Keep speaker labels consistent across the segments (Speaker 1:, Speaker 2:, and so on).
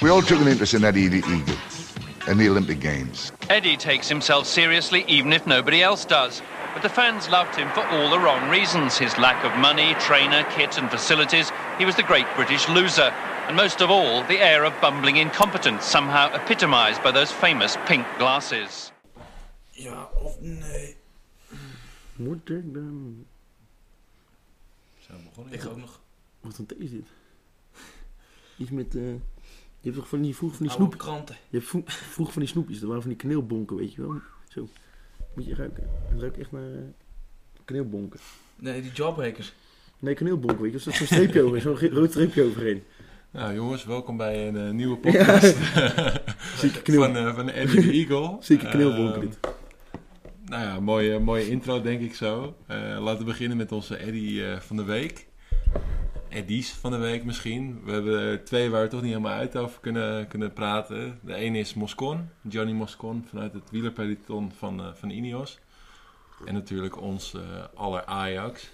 Speaker 1: We all took an interest in that E Eddie Eagle and the Olympic Games.
Speaker 2: Eddie takes himself seriously even if nobody else does. But the fans loved him for all the wrong reasons his lack of money, trainer, kit, and facilities. He was the great British loser. And most of all, the air of bumbling incompetence, somehow epitomised by those famous pink glasses.
Speaker 3: Ja, of nee.
Speaker 4: Moet ik dan...
Speaker 3: Zijn we begonnen? Ik ook nog.
Speaker 4: Wat een thee is dit? Iets met... eh, Je hebt toch van die vroeg van die
Speaker 3: Oude
Speaker 4: snoep...
Speaker 3: kranten.
Speaker 4: Je hebt vroeg, vroeg van die snoepjes. Dat waren van die kneelbonken, weet je wel. Zo. Moet je ruiken. Het ruikt echt naar... eh, Kneelbonken.
Speaker 3: Nee, die jobbreakers.
Speaker 4: Nee, kaneelbonk, weet je. Er staat zo'n streepje over, zo'n ge- rood streepje overheen.
Speaker 5: Nou jongens, welkom bij een eh, nieuwe podcast
Speaker 4: Zieke kneel.
Speaker 5: van, eh van Eddie the Eagle.
Speaker 4: Zieke kneelbonk
Speaker 5: Ehm,
Speaker 4: dit.
Speaker 5: nou ja, mooie, mooie intro denk ik zo. Eh, laten we beginnen met onze Eddie eh, van de week. Eddies van de week misschien. We hebben er twee waar we toch niet helemaal uit over kunnen, kunnen praten. De ene is Moscon, Johnny Moscon vanuit het wielerpeloton van, eh, van Ineos. En natuurlijk ons eh, aller Ajax.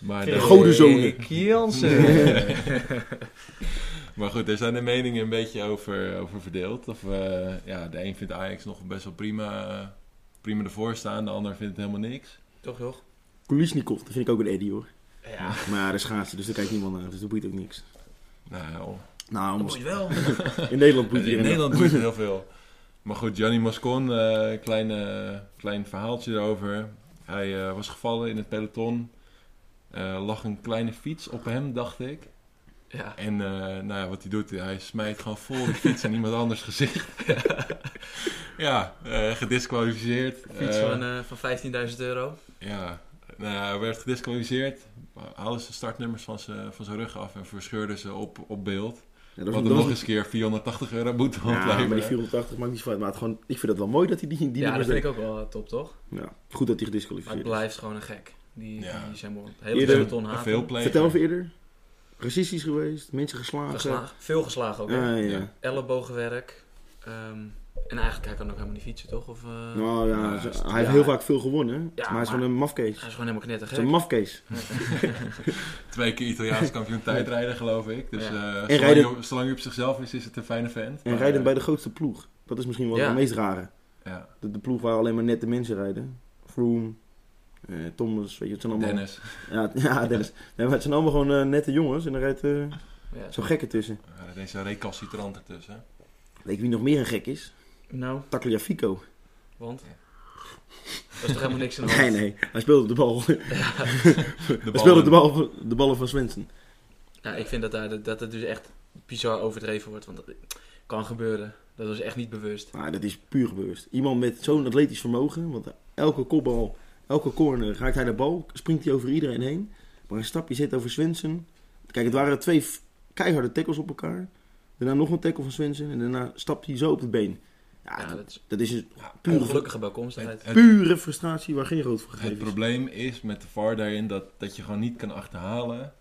Speaker 5: Maar
Speaker 4: De
Speaker 5: daar-
Speaker 4: godenzonen.
Speaker 3: Erik Jansen.
Speaker 5: Maar goed, daar zijn de meningen een beetje over, over verdeeld. Of, eh, ja, de een vindt Ajax nog best wel prima, eh, prima ervoor staan, de ander vindt het helemaal niks.
Speaker 3: Toch toch?
Speaker 4: Kulisnikov, dat vind ik ook een Eddie hoor.
Speaker 3: Ja.
Speaker 4: Maar daar schaatsen, dus daar kijkt niemand naar. Dus dat boeit ook niks.
Speaker 5: Nou, Eh,
Speaker 4: Nou,
Speaker 3: Dat moet je wel.
Speaker 4: in Nederland boeit
Speaker 5: in
Speaker 4: iedereen
Speaker 5: Nederland doet het heel veel. Maar goed, Gianni Moscon, eh klein, eh, klein verhaaltje erover. Hij eh, was gevallen in het peloton. Eh, lag een kleine fiets op hem, dacht ik.
Speaker 3: Ja.
Speaker 5: En eh, nou ja, wat hij doet, hij smijt gewoon vol de fiets in iemand anders gezicht. ja, eh, gedisqualificeerd.
Speaker 3: Fiets
Speaker 5: Eh,
Speaker 3: van, eh, van 15.000 euro.
Speaker 5: Ja, nou, ja, hij werd gedisqualificeerd. Haalden ze startnummers van zijn van zijn rug af en verscheurden ze op, op beeld.
Speaker 4: Ja,
Speaker 5: Wat
Speaker 4: dat was,
Speaker 5: hem
Speaker 4: dat
Speaker 5: nog
Speaker 4: was,
Speaker 5: eens een keer 480 euro boete
Speaker 4: ja, maar die
Speaker 5: opleveren.
Speaker 4: 480 maakt niet zo uit. Maar het gewoon, ik vind dat wel mooi dat hij die, die
Speaker 3: ja, dat
Speaker 4: nummers
Speaker 3: vind ik
Speaker 4: deed.
Speaker 3: ook wel eh, top, toch?
Speaker 4: Ja, goed dat hij
Speaker 3: Maar het
Speaker 4: gedisqualificeerd is.
Speaker 3: blijft gewoon een gek. Die,
Speaker 5: Ja.
Speaker 3: die zijn wel het hele
Speaker 4: Eerder-
Speaker 3: peloton
Speaker 5: Een
Speaker 3: haat.
Speaker 5: veelpleger.
Speaker 4: Vertel even eerder. Racistisch geweest, mensen geslagen.
Speaker 3: Geslagen. Veel geslagen ook. hè?
Speaker 4: Ja, ja,
Speaker 5: Ja.
Speaker 4: ja.
Speaker 3: Ellebogenwerk. ehm, en eigenlijk, hij kan ook helemaal niet fietsen, toch? Of, eh,
Speaker 4: Nou ja,
Speaker 5: Ja,
Speaker 4: ze-
Speaker 5: juist.
Speaker 4: hij heeft
Speaker 3: Ja.
Speaker 4: heel vaak veel gewonnen. hè.
Speaker 3: Ja,
Speaker 4: maar hij is
Speaker 3: maar-
Speaker 4: gewoon een mafkees.
Speaker 3: Hij
Speaker 4: Het
Speaker 3: is gewoon helemaal
Speaker 4: is een
Speaker 3: knettergek.
Speaker 4: mafkees.
Speaker 5: Twee keer Italiaans kampioen tijdrijden, geloof ik. Dus
Speaker 3: Ja.
Speaker 5: eh,
Speaker 4: En
Speaker 5: zolang,
Speaker 4: rijden-
Speaker 5: hij, op- zolang hij op zichzelf is, is het een fijne vent.
Speaker 4: En
Speaker 5: Maar,
Speaker 4: rijden
Speaker 5: eh,
Speaker 4: bij de grootste ploeg. Dat is misschien wel
Speaker 3: Ja.
Speaker 4: het meest rare.
Speaker 5: Ja,
Speaker 4: De, de ploeg waar alleen maar nette mensen rijden. Froome, eh, Thomas, weet je, het zijn allemaal...
Speaker 5: Dennis.
Speaker 4: Ja, t- ja Dennis. Nee, maar het zijn allemaal gewoon eh, nette jongens en er rijdt eh,
Speaker 3: Ja.
Speaker 4: zo'n gek ertussen.
Speaker 5: Eh, deze recalcitrant ertussen.
Speaker 4: Weet je wie nog meer een gek is?
Speaker 3: Nou,
Speaker 4: Tagliafico.
Speaker 3: want?
Speaker 5: Ja.
Speaker 3: Dat is toch helemaal niks aan de hand?
Speaker 4: Nee, nee. Hij speelde de bal.
Speaker 5: De
Speaker 4: Hij speelde de, bal, de ballen van Swenson.
Speaker 3: Ja, ik vind dat, daar, dat het dus echt bizar overdreven wordt. Want dat kan gebeuren. Dat was echt niet bewust.
Speaker 4: Maar dat is puur bewust. Iemand met zo'n atletisch vermogen, want elke kopbal, elke corner raakt hij de bal, springt hij over iedereen heen. Maar een stapje zit over Swenson. Kijk, het waren twee f- keiharde tackles op elkaar. Daarna nog een tackle van Swenson en daarna stapt hij zo op het been. Ja,
Speaker 3: Ja,
Speaker 4: dat,
Speaker 3: dat is
Speaker 4: dat is een
Speaker 3: een
Speaker 4: pure,
Speaker 3: ongelukkige bijkomstigheid.
Speaker 5: Het-
Speaker 4: pure frustratie waar geen rood voor
Speaker 5: Het
Speaker 4: gegeven is.
Speaker 5: probleem is met de VAR daarin dat, dat je gewoon niet kan achterhalen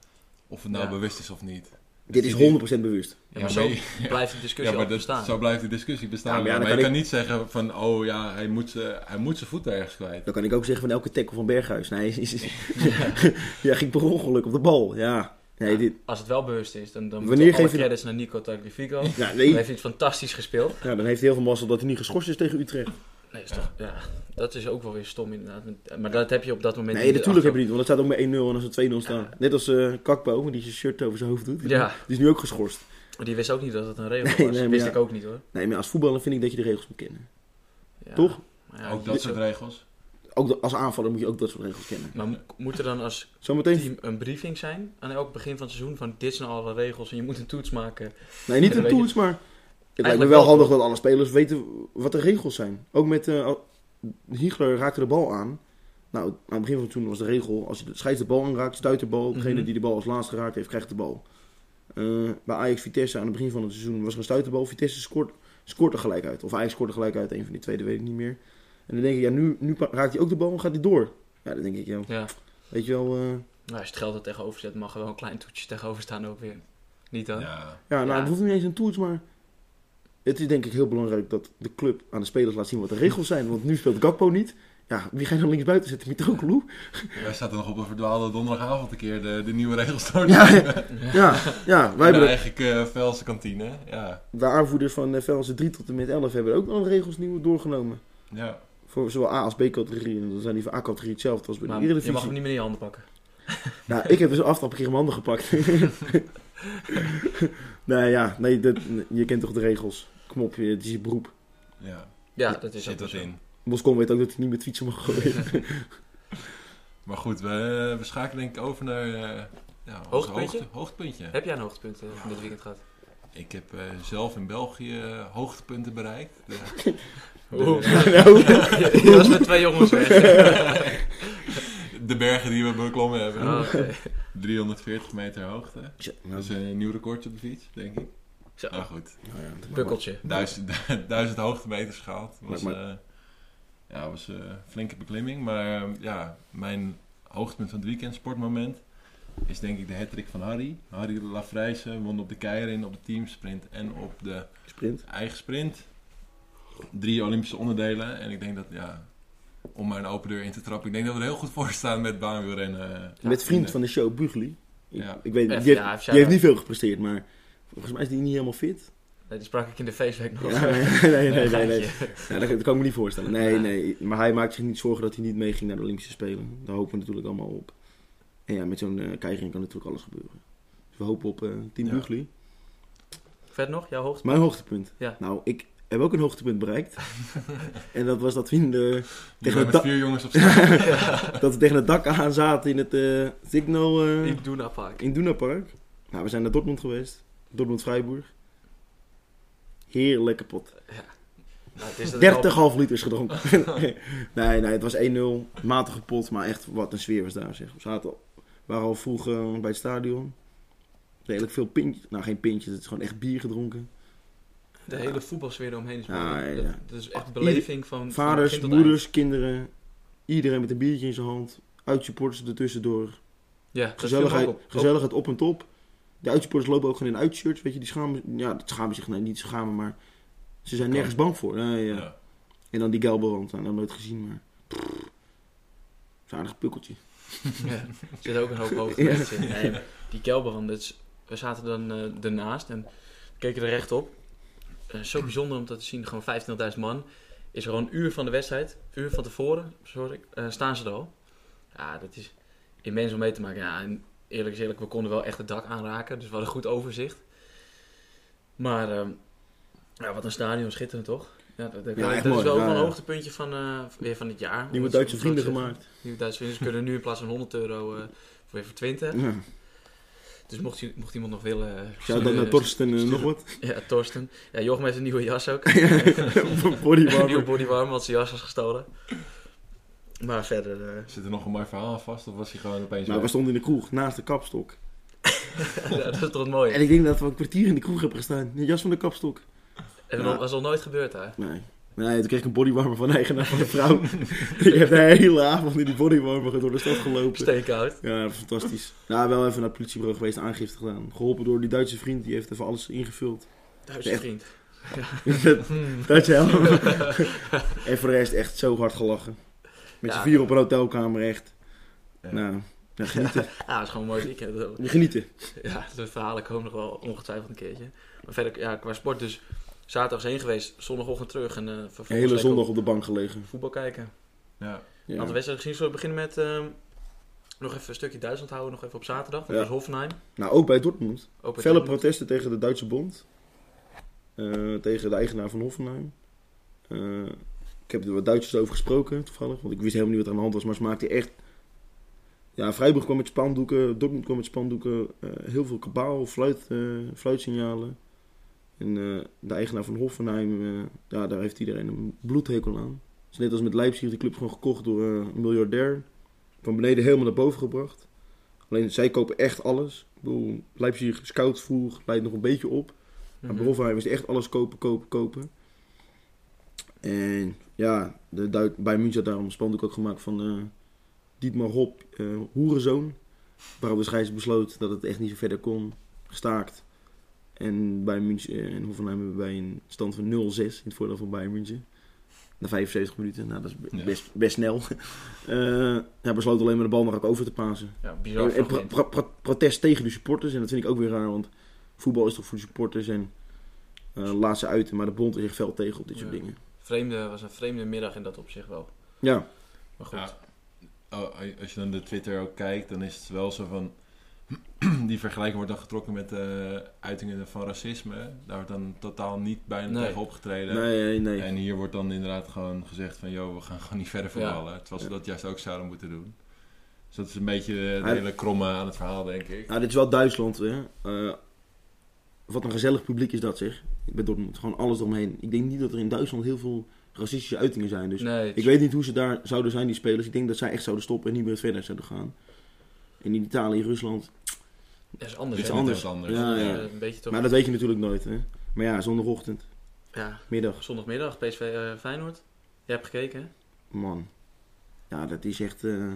Speaker 5: of het nou
Speaker 3: Ja.
Speaker 5: bewust is of niet.
Speaker 4: Dit
Speaker 5: Dus
Speaker 4: is
Speaker 5: die-
Speaker 4: 100% bewust.
Speaker 3: Ja,
Speaker 5: Ja,
Speaker 3: maar zo
Speaker 5: maar je-
Speaker 3: blijft de discussie altijd
Speaker 5: dat-
Speaker 3: bestaan.
Speaker 5: zo blijft de discussie bestaan.
Speaker 4: Ja, maar ja,
Speaker 5: maar
Speaker 4: dan
Speaker 5: je kan
Speaker 4: kan
Speaker 5: niet zeggen van, oh ja, hij moet, ze- hij moet zijn voet ergens kwijt.
Speaker 4: Dan kan ik ook zeggen van elke tackle van Berghuis. Nee, is, is- ja, ging per ongeluk op de bal. Ja, nee, dit,
Speaker 3: Als het wel bewust is, dan, dan
Speaker 4: Wanneer
Speaker 3: moeten alle
Speaker 4: geef je-
Speaker 3: credits naar Nico Tagliafico.
Speaker 4: ja,
Speaker 3: Hij
Speaker 4: nee.
Speaker 3: heeft iets fantastisch gespeeld.
Speaker 4: Ja, dan heeft hij heel veel mazzel dat hij niet geschorst is tegen Utrecht.
Speaker 3: Nee, is toch, ja, dat is ook wel weer stom inderdaad. Maar dat heb je op dat moment
Speaker 4: Nee, natuurlijk
Speaker 3: heb
Speaker 4: hebben die niet, want dat staat ook met 1-0 en als er 2-0 staan. Net als eh Kakpo, die zijn shirt over zijn hoofd doet.
Speaker 3: Ja.
Speaker 4: Die is nu ook geschorst.
Speaker 3: Die wist ook niet dat het een regel
Speaker 4: Nee,
Speaker 3: was.
Speaker 4: nee, maar
Speaker 3: wist
Speaker 4: ja.
Speaker 3: ik ook niet hoor.
Speaker 4: Nee, maar als voetballer vind ik dat je de regels moet kennen.
Speaker 3: Ja.
Speaker 4: Toch?
Speaker 3: Maar ja,
Speaker 5: ook
Speaker 3: zo-
Speaker 5: dat soort regels.
Speaker 4: Ook de- als aanvaller moet je ook dat soort regels kennen.
Speaker 3: Maar mo- moet er dan als
Speaker 4: Zometeen.
Speaker 3: team een briefing zijn aan elk begin van het seizoen van dit zijn alle regels en je moet een toets maken.
Speaker 4: Nee, niet
Speaker 3: Ja,
Speaker 4: een
Speaker 3: dat weet
Speaker 4: toets, maar het lijkt me
Speaker 3: Eigenlijk
Speaker 4: wel
Speaker 3: wel,
Speaker 4: handig dat alle spelers weten wat de regels zijn. Ook met eh, al- Hiegler raakte de bal aan. Nou, aan het begin van het seizoen was de regel: als je de scheids de bal aanraakt, stuit de bal. Degene
Speaker 3: Mhm.
Speaker 4: die de bal als laatste geraakt heeft, krijgt de bal. Eh, bij Ajax Vitesse aan het begin van het seizoen was er een stuiterbal. Vitesse scoort, scoort er gelijk uit. Of Ajax scoort er gelijk uit, een van die tweede weet ik niet meer. En dan denk ik, ja, nu, nu pa- raakt hij ook de bal en gaat hij door. Ja, dan denk ik, ja,
Speaker 3: Ja.
Speaker 4: weet je wel. eh,
Speaker 3: Nou, als je het geld er tegenover zet, mag er wel een klein toetje tegenover staan ook weer. Niet dan?
Speaker 5: Ja.
Speaker 4: Ja, nou,
Speaker 3: Ja.
Speaker 4: het hoeft niet eens een toets, maar het is denk ik heel belangrijk dat de club aan de spelers laat zien wat de regels zijn. Want nu speelt Gakpo niet. Ja, wie ga je dan linksbuiten zetten? Mitroglou?
Speaker 5: Wij zaten nog op een verdwaalde donderdagavond een keer de, de nieuwe regels door te
Speaker 4: Ja,
Speaker 5: nemen.
Speaker 4: ja, ja, ja. Wij
Speaker 5: In de
Speaker 4: hebben
Speaker 5: eigen eh, Velse kantine. Ja.
Speaker 4: de aanvoerders van eh, Velsen 3 tot en met 11 hebben ook nog regels nieuw doorgenomen.
Speaker 5: ja.
Speaker 4: Voor zowel A als B-categorie. En dan zijn die van A-categorie hetzelfde als bij de
Speaker 3: Maar je
Speaker 4: Eredivisie.
Speaker 3: mag hem niet meer in je handen pakken.
Speaker 4: Nou, ik heb dus aftrap een keer in mijn handen gepakt. nou ja, nee, dat, je kent toch de regels. Kom op, je- het is je beroep.
Speaker 5: ja.
Speaker 3: Ja, dat is
Speaker 5: Zit
Speaker 3: ook
Speaker 5: dat
Speaker 3: zo.
Speaker 5: in.
Speaker 4: Moscon weet ook dat hij niet met fietsen mag gooien.
Speaker 5: Maar goed, we, we schakelen denk ik over naar eh, ja, ons
Speaker 3: Hoogtepuntje?
Speaker 5: hoogte- hoogtepuntje.
Speaker 3: Heb jij een hoogtepunt eh, van dit weekend gehad?
Speaker 5: Ik heb eh, zelf in België eh, hoogtepunten bereikt. De-
Speaker 3: Oeh.
Speaker 4: nou,
Speaker 3: Je was met twee jongens weg.
Speaker 5: de bergen die we beklommen hebben.
Speaker 3: Ah, oké.
Speaker 5: 340 meter hoogte.
Speaker 4: Tja,
Speaker 5: Dat
Speaker 4: nou,
Speaker 5: is een nieuw recordje op de fiets, denk ik.
Speaker 3: Zo,
Speaker 5: Maar goed,
Speaker 4: nou ja, dat mag wel.
Speaker 3: pukkeltje.
Speaker 5: duizend, duizend hoogtemeters gehaald. Was,
Speaker 4: Maar-
Speaker 5: eh, ja, was eh, een flinke beklimming. Maar eh, ja, mijn hoogtepunt van het weekend, sportmoment, is denk ik de hattrick van Harry. Harry Lafrijse won op de keier in, op de teamsprint en op de
Speaker 4: sprint.
Speaker 5: eigen sprint. Drie Olympische onderdelen. En ik denk dat, ja, om maar een open deur in te trappen, ik denk dat we er heel goed voor staan met baanwielrennen. eh,
Speaker 4: met vriend
Speaker 5: Ja.
Speaker 4: van de show, Bugli. Ik,
Speaker 5: Ja.
Speaker 4: ik weet
Speaker 3: Echt,
Speaker 4: niet,
Speaker 3: ja, heeft
Speaker 4: die, heeft, die heeft
Speaker 3: shout-out.
Speaker 4: niet veel gepresteerd, maar volgens mij is die niet helemaal fit.
Speaker 3: Nee, die sprak ik in de feestweek nog.
Speaker 4: Ja, nee, nee, nee, nee.
Speaker 3: Gaatje.
Speaker 4: nee. Ja, dat, dat kan ik me niet voorstellen. Nee, nee, maar hij maakt zich niet zorgen dat hij niet meeging naar de Olympische Spelen. Daar hopen we natuurlijk allemaal op. En ja, met zo'n eh keigering kan natuurlijk alles gebeuren. Dus we hopen op eh Team
Speaker 5: Ja.
Speaker 4: Bugli.
Speaker 3: Verder nog, jouw hoogtepunt?
Speaker 4: Mijn hoogtepunt.
Speaker 3: Ja.
Speaker 4: Nou, ik heb ook een hoogtepunt bereikt. en dat was dat we, in de,
Speaker 5: Die
Speaker 4: tegen
Speaker 5: zijn
Speaker 4: het
Speaker 5: met
Speaker 4: dak-
Speaker 5: vier jongens op straat.
Speaker 4: dat we tegen het dak aan zaten in het eh Signal eh,
Speaker 3: Ik doe nou vaak.
Speaker 4: in Dunapark. Nou, we zijn naar Dortmund geweest. Dortmund-Vrijburg. Heerlijk kapot.
Speaker 3: Nou, het is dat ik
Speaker 4: 30
Speaker 3: al-
Speaker 4: half liters gedronken. nee, nee, het was 1-0. Matig kapot, maar echt wat een sfeer was daar zeg. We zaten al, waren al vroeg eh, bij het stadion. Redelijk veel pintjes. Nou, geen pintjes. Het is gewoon echt bier gedronken.
Speaker 3: De hele voetbalsfeer eromheen is
Speaker 4: Ja,
Speaker 3: mooi.
Speaker 4: Ah, ja.
Speaker 3: dat, dat is echt beleving van... van
Speaker 4: Vaders,
Speaker 3: begin tot
Speaker 4: moeders, kinderen. Iedereen met een biertje in zijn hand. Uitsupporters ertussendoor.
Speaker 3: eind. Ja, dat viel
Speaker 4: Gezelligheid,
Speaker 3: me ook op.
Speaker 4: gezelligheid op en top. De uitsporters lopen ook gewoon in uitshirts. Weet je, die schamen, ja, dat schamen zich, nee, niet schamen, maar ze zijn nergens bang voor. Nee, ja.
Speaker 5: Ja.
Speaker 4: En dan die Gelberand, nou, dat nooit gezien, maar. Pff, is een aardig pukkeltje.
Speaker 3: Ja, er zit ook een hoop hoogtepunten in. Nee, maar die Kelberand, dat is- we zaten dan eh ernaast en keken er recht op. Eh, zo bijzonder om dat te zien, gewoon 15.000 man. Is er gewoon een uur van de wedstrijd, een uur van tevoren, sorry, eh, staan ze er al. Ja, dat is immens om mee te maken. Ja, en eerlijk is eerlijk, we konden wel echt het dak aanraken, dus we hadden goed overzicht. Maar ehm, ja, wat een stadion, schitterend toch? Ja, dat, dat,
Speaker 4: Ja,
Speaker 3: dat
Speaker 4: echt
Speaker 3: is
Speaker 4: mooi.
Speaker 3: wel ook
Speaker 4: Ja,
Speaker 3: wel een
Speaker 4: ja.
Speaker 3: hoogtepuntje van, eh, weer van het jaar.
Speaker 4: Nieuwe
Speaker 3: Dat is-
Speaker 4: Duitse vrienden
Speaker 3: dat is-
Speaker 4: gemaakt.
Speaker 3: Nieuwe Duitse winners kunnen nu in plaats van 100 euro eh, voor even 20.
Speaker 4: Ja.
Speaker 3: Dus mocht, je- mocht iemand nog willen... eh,
Speaker 4: Zou dan
Speaker 3: sturen-
Speaker 4: naar Torsten eh, nog wat?
Speaker 3: Ja, Torsten. Ja, Jochem heeft een nieuwe jas ook. een nieuwe
Speaker 4: Bodywarmer.
Speaker 3: bodywarm, want zijn jas was gestolen. Maar verder... eh,
Speaker 5: Zit er nog een mooi verhaal aan vast of was hij gewoon opeens
Speaker 4: Nou, we
Speaker 5: weg?
Speaker 4: stonden in de kroeg naast de kapstok.
Speaker 3: ja, dat is toch mooi.
Speaker 4: En ik denk dat we een kwartier in de kroeg hebben gestaan. De jas van de kapstok.
Speaker 3: En dat was al nooit gebeurd daar.
Speaker 4: Nee. Nee, toen kreeg ik een bodywarmer van eigenaar van de vrouw. ik heb de hele avond in die bodywarmer door de stad gelopen.
Speaker 3: Steekhout.
Speaker 4: Ja, fantastisch. Nou, wel even naar het politiebureau geweest, aangifte gedaan. Geholpen door die Duitse vriend, die heeft even alles ingevuld.
Speaker 3: Duitse
Speaker 4: Echt.
Speaker 3: vriend.
Speaker 4: Duitse helm. en voor de rest echt zo hard gelachen. Met
Speaker 3: Ja.
Speaker 4: z'n vier op een hotelkamer, echt.
Speaker 5: Ja.
Speaker 4: Nou, ja, genieten.
Speaker 3: Ja, Ah, dat is gewoon een mooi weekend.
Speaker 4: genieten.
Speaker 3: Ja, de verhalen komen nog wel ongetwijfeld een keertje. Maar verder, ja, qua sport dus... Zaterdags heen geweest, zondagochtend terug en eh vervolgens...
Speaker 4: Een hele
Speaker 3: lekker
Speaker 4: zondag op de bank gelegen.
Speaker 3: Voetbal kijken.
Speaker 5: Ja.
Speaker 4: Ja.
Speaker 3: Aantal wedstrijden gezien. Zullen we beginnen met ehm, nog even een stukje Duitsland houden, nog even op zaterdag. Want
Speaker 4: Ja.
Speaker 3: dat is Hoffenheim.
Speaker 4: Nou, ook bij Dortmund.
Speaker 3: Ook weer
Speaker 4: Felle
Speaker 3: Dortmund.
Speaker 4: protesten tegen de Duitse bond. Eh, tegen de eigenaar van Hoffenheim. Eh, ik heb er wat Duitsers over gesproken, toevallig. Want ik wist helemaal niet wat er aan de hand was. Maar ze maakten echt... Ja, Vrijburg kwam met spandoeken. Dortmund kwam met spandoeken. eh, heel veel kabaal, fluit, eh, fluitsignalen. En eh, de eigenaar van Hoffenheim... eh, ja, daar heeft iedereen een bloedhekel aan. Het is net als met Leipzig. Die club is gewoon gekocht door eh, een miljardair. Van beneden helemaal naar boven gebracht. Alleen zij kopen echt alles. Ik bedoel, Leipzig scout vroeg, leidt nog een beetje op. Maar
Speaker 3: Mhm.
Speaker 4: bij Hoffenheim is echt alles kopen, kopen, kopen. En ja, de Duit, bij München had daarom een spandoek ook gemaakt van eh, Dietmar Hop, eh hoerenzoon. Waarop de scheids besloot dat het echt niet zo verder kon. Gestaakt. eh, En bij München en Hoffenheim hebben wij een stand van 0-6 in het voordeel van Bayern München. Na 75 minuten, nou dat is
Speaker 5: Ja.
Speaker 4: b- best, best snel. Eh hij besloot alleen maar de bal maar ook over te pasen.
Speaker 3: Ja,
Speaker 4: En-
Speaker 3: bizar.
Speaker 4: en pro-
Speaker 3: fragment.
Speaker 4: pro- pro- protest tegen de supporters. En dat vind ik ook weer raar, want voetbal is toch voor de supporters. En eh laat ze uit, maar de bond is echt fel tegen op dit soort
Speaker 3: Ja.
Speaker 4: dingen.
Speaker 3: vreemde, was een vreemde middag in dat opzicht wel.
Speaker 4: Ja,
Speaker 3: Maar goed.
Speaker 5: Ja. Oh, als je dan de Twitter ook kijkt, dan is het wel zo van. Die vergelijking wordt dan getrokken met eh uitingen van racisme. Daar wordt dan totaal niet bijna
Speaker 3: Nee.
Speaker 5: tegen opgetreden.
Speaker 4: nee, nee. nee.
Speaker 5: En hier wordt dan inderdaad gewoon gezegd van... ...joh, we gaan gewoon niet verder voetballen. Terwijl ze
Speaker 4: Ja.
Speaker 5: dat juist ook zouden moeten doen. Dus dat is een beetje de
Speaker 4: Hij-
Speaker 5: hele kromme aan het verhaal, denk ik.
Speaker 4: Nou, dit is wel Duitsland, hè. Eh, wat een gezellig publiek is dat, zeg. Ik ben Dortmund, gewoon alles eromheen. Ik denk niet dat er in Duitsland heel veel racistische uitingen zijn. Dus
Speaker 3: nee, het
Speaker 4: ik
Speaker 3: is-
Speaker 4: weet niet hoe ze daar zouden zijn, die spelers. Ik denk dat zij echt zouden stoppen en niet meer verder zouden gaan. En in Italië, Rusland.
Speaker 3: het is anders.
Speaker 5: Iets
Speaker 3: hè?
Speaker 4: anders.
Speaker 5: wat anders.
Speaker 4: Ja,
Speaker 3: Het is,
Speaker 4: ja.
Speaker 3: eh, Een beetje toch.
Speaker 4: Maar dat weet je natuurlijk nooit, hè. Maar ja, zondagochtend,
Speaker 3: Ja,
Speaker 4: middag,
Speaker 3: zondagmiddag PSV eh, Feyenoord. Jij hebt gekeken, hè?
Speaker 4: man. Ja, dat is echt eh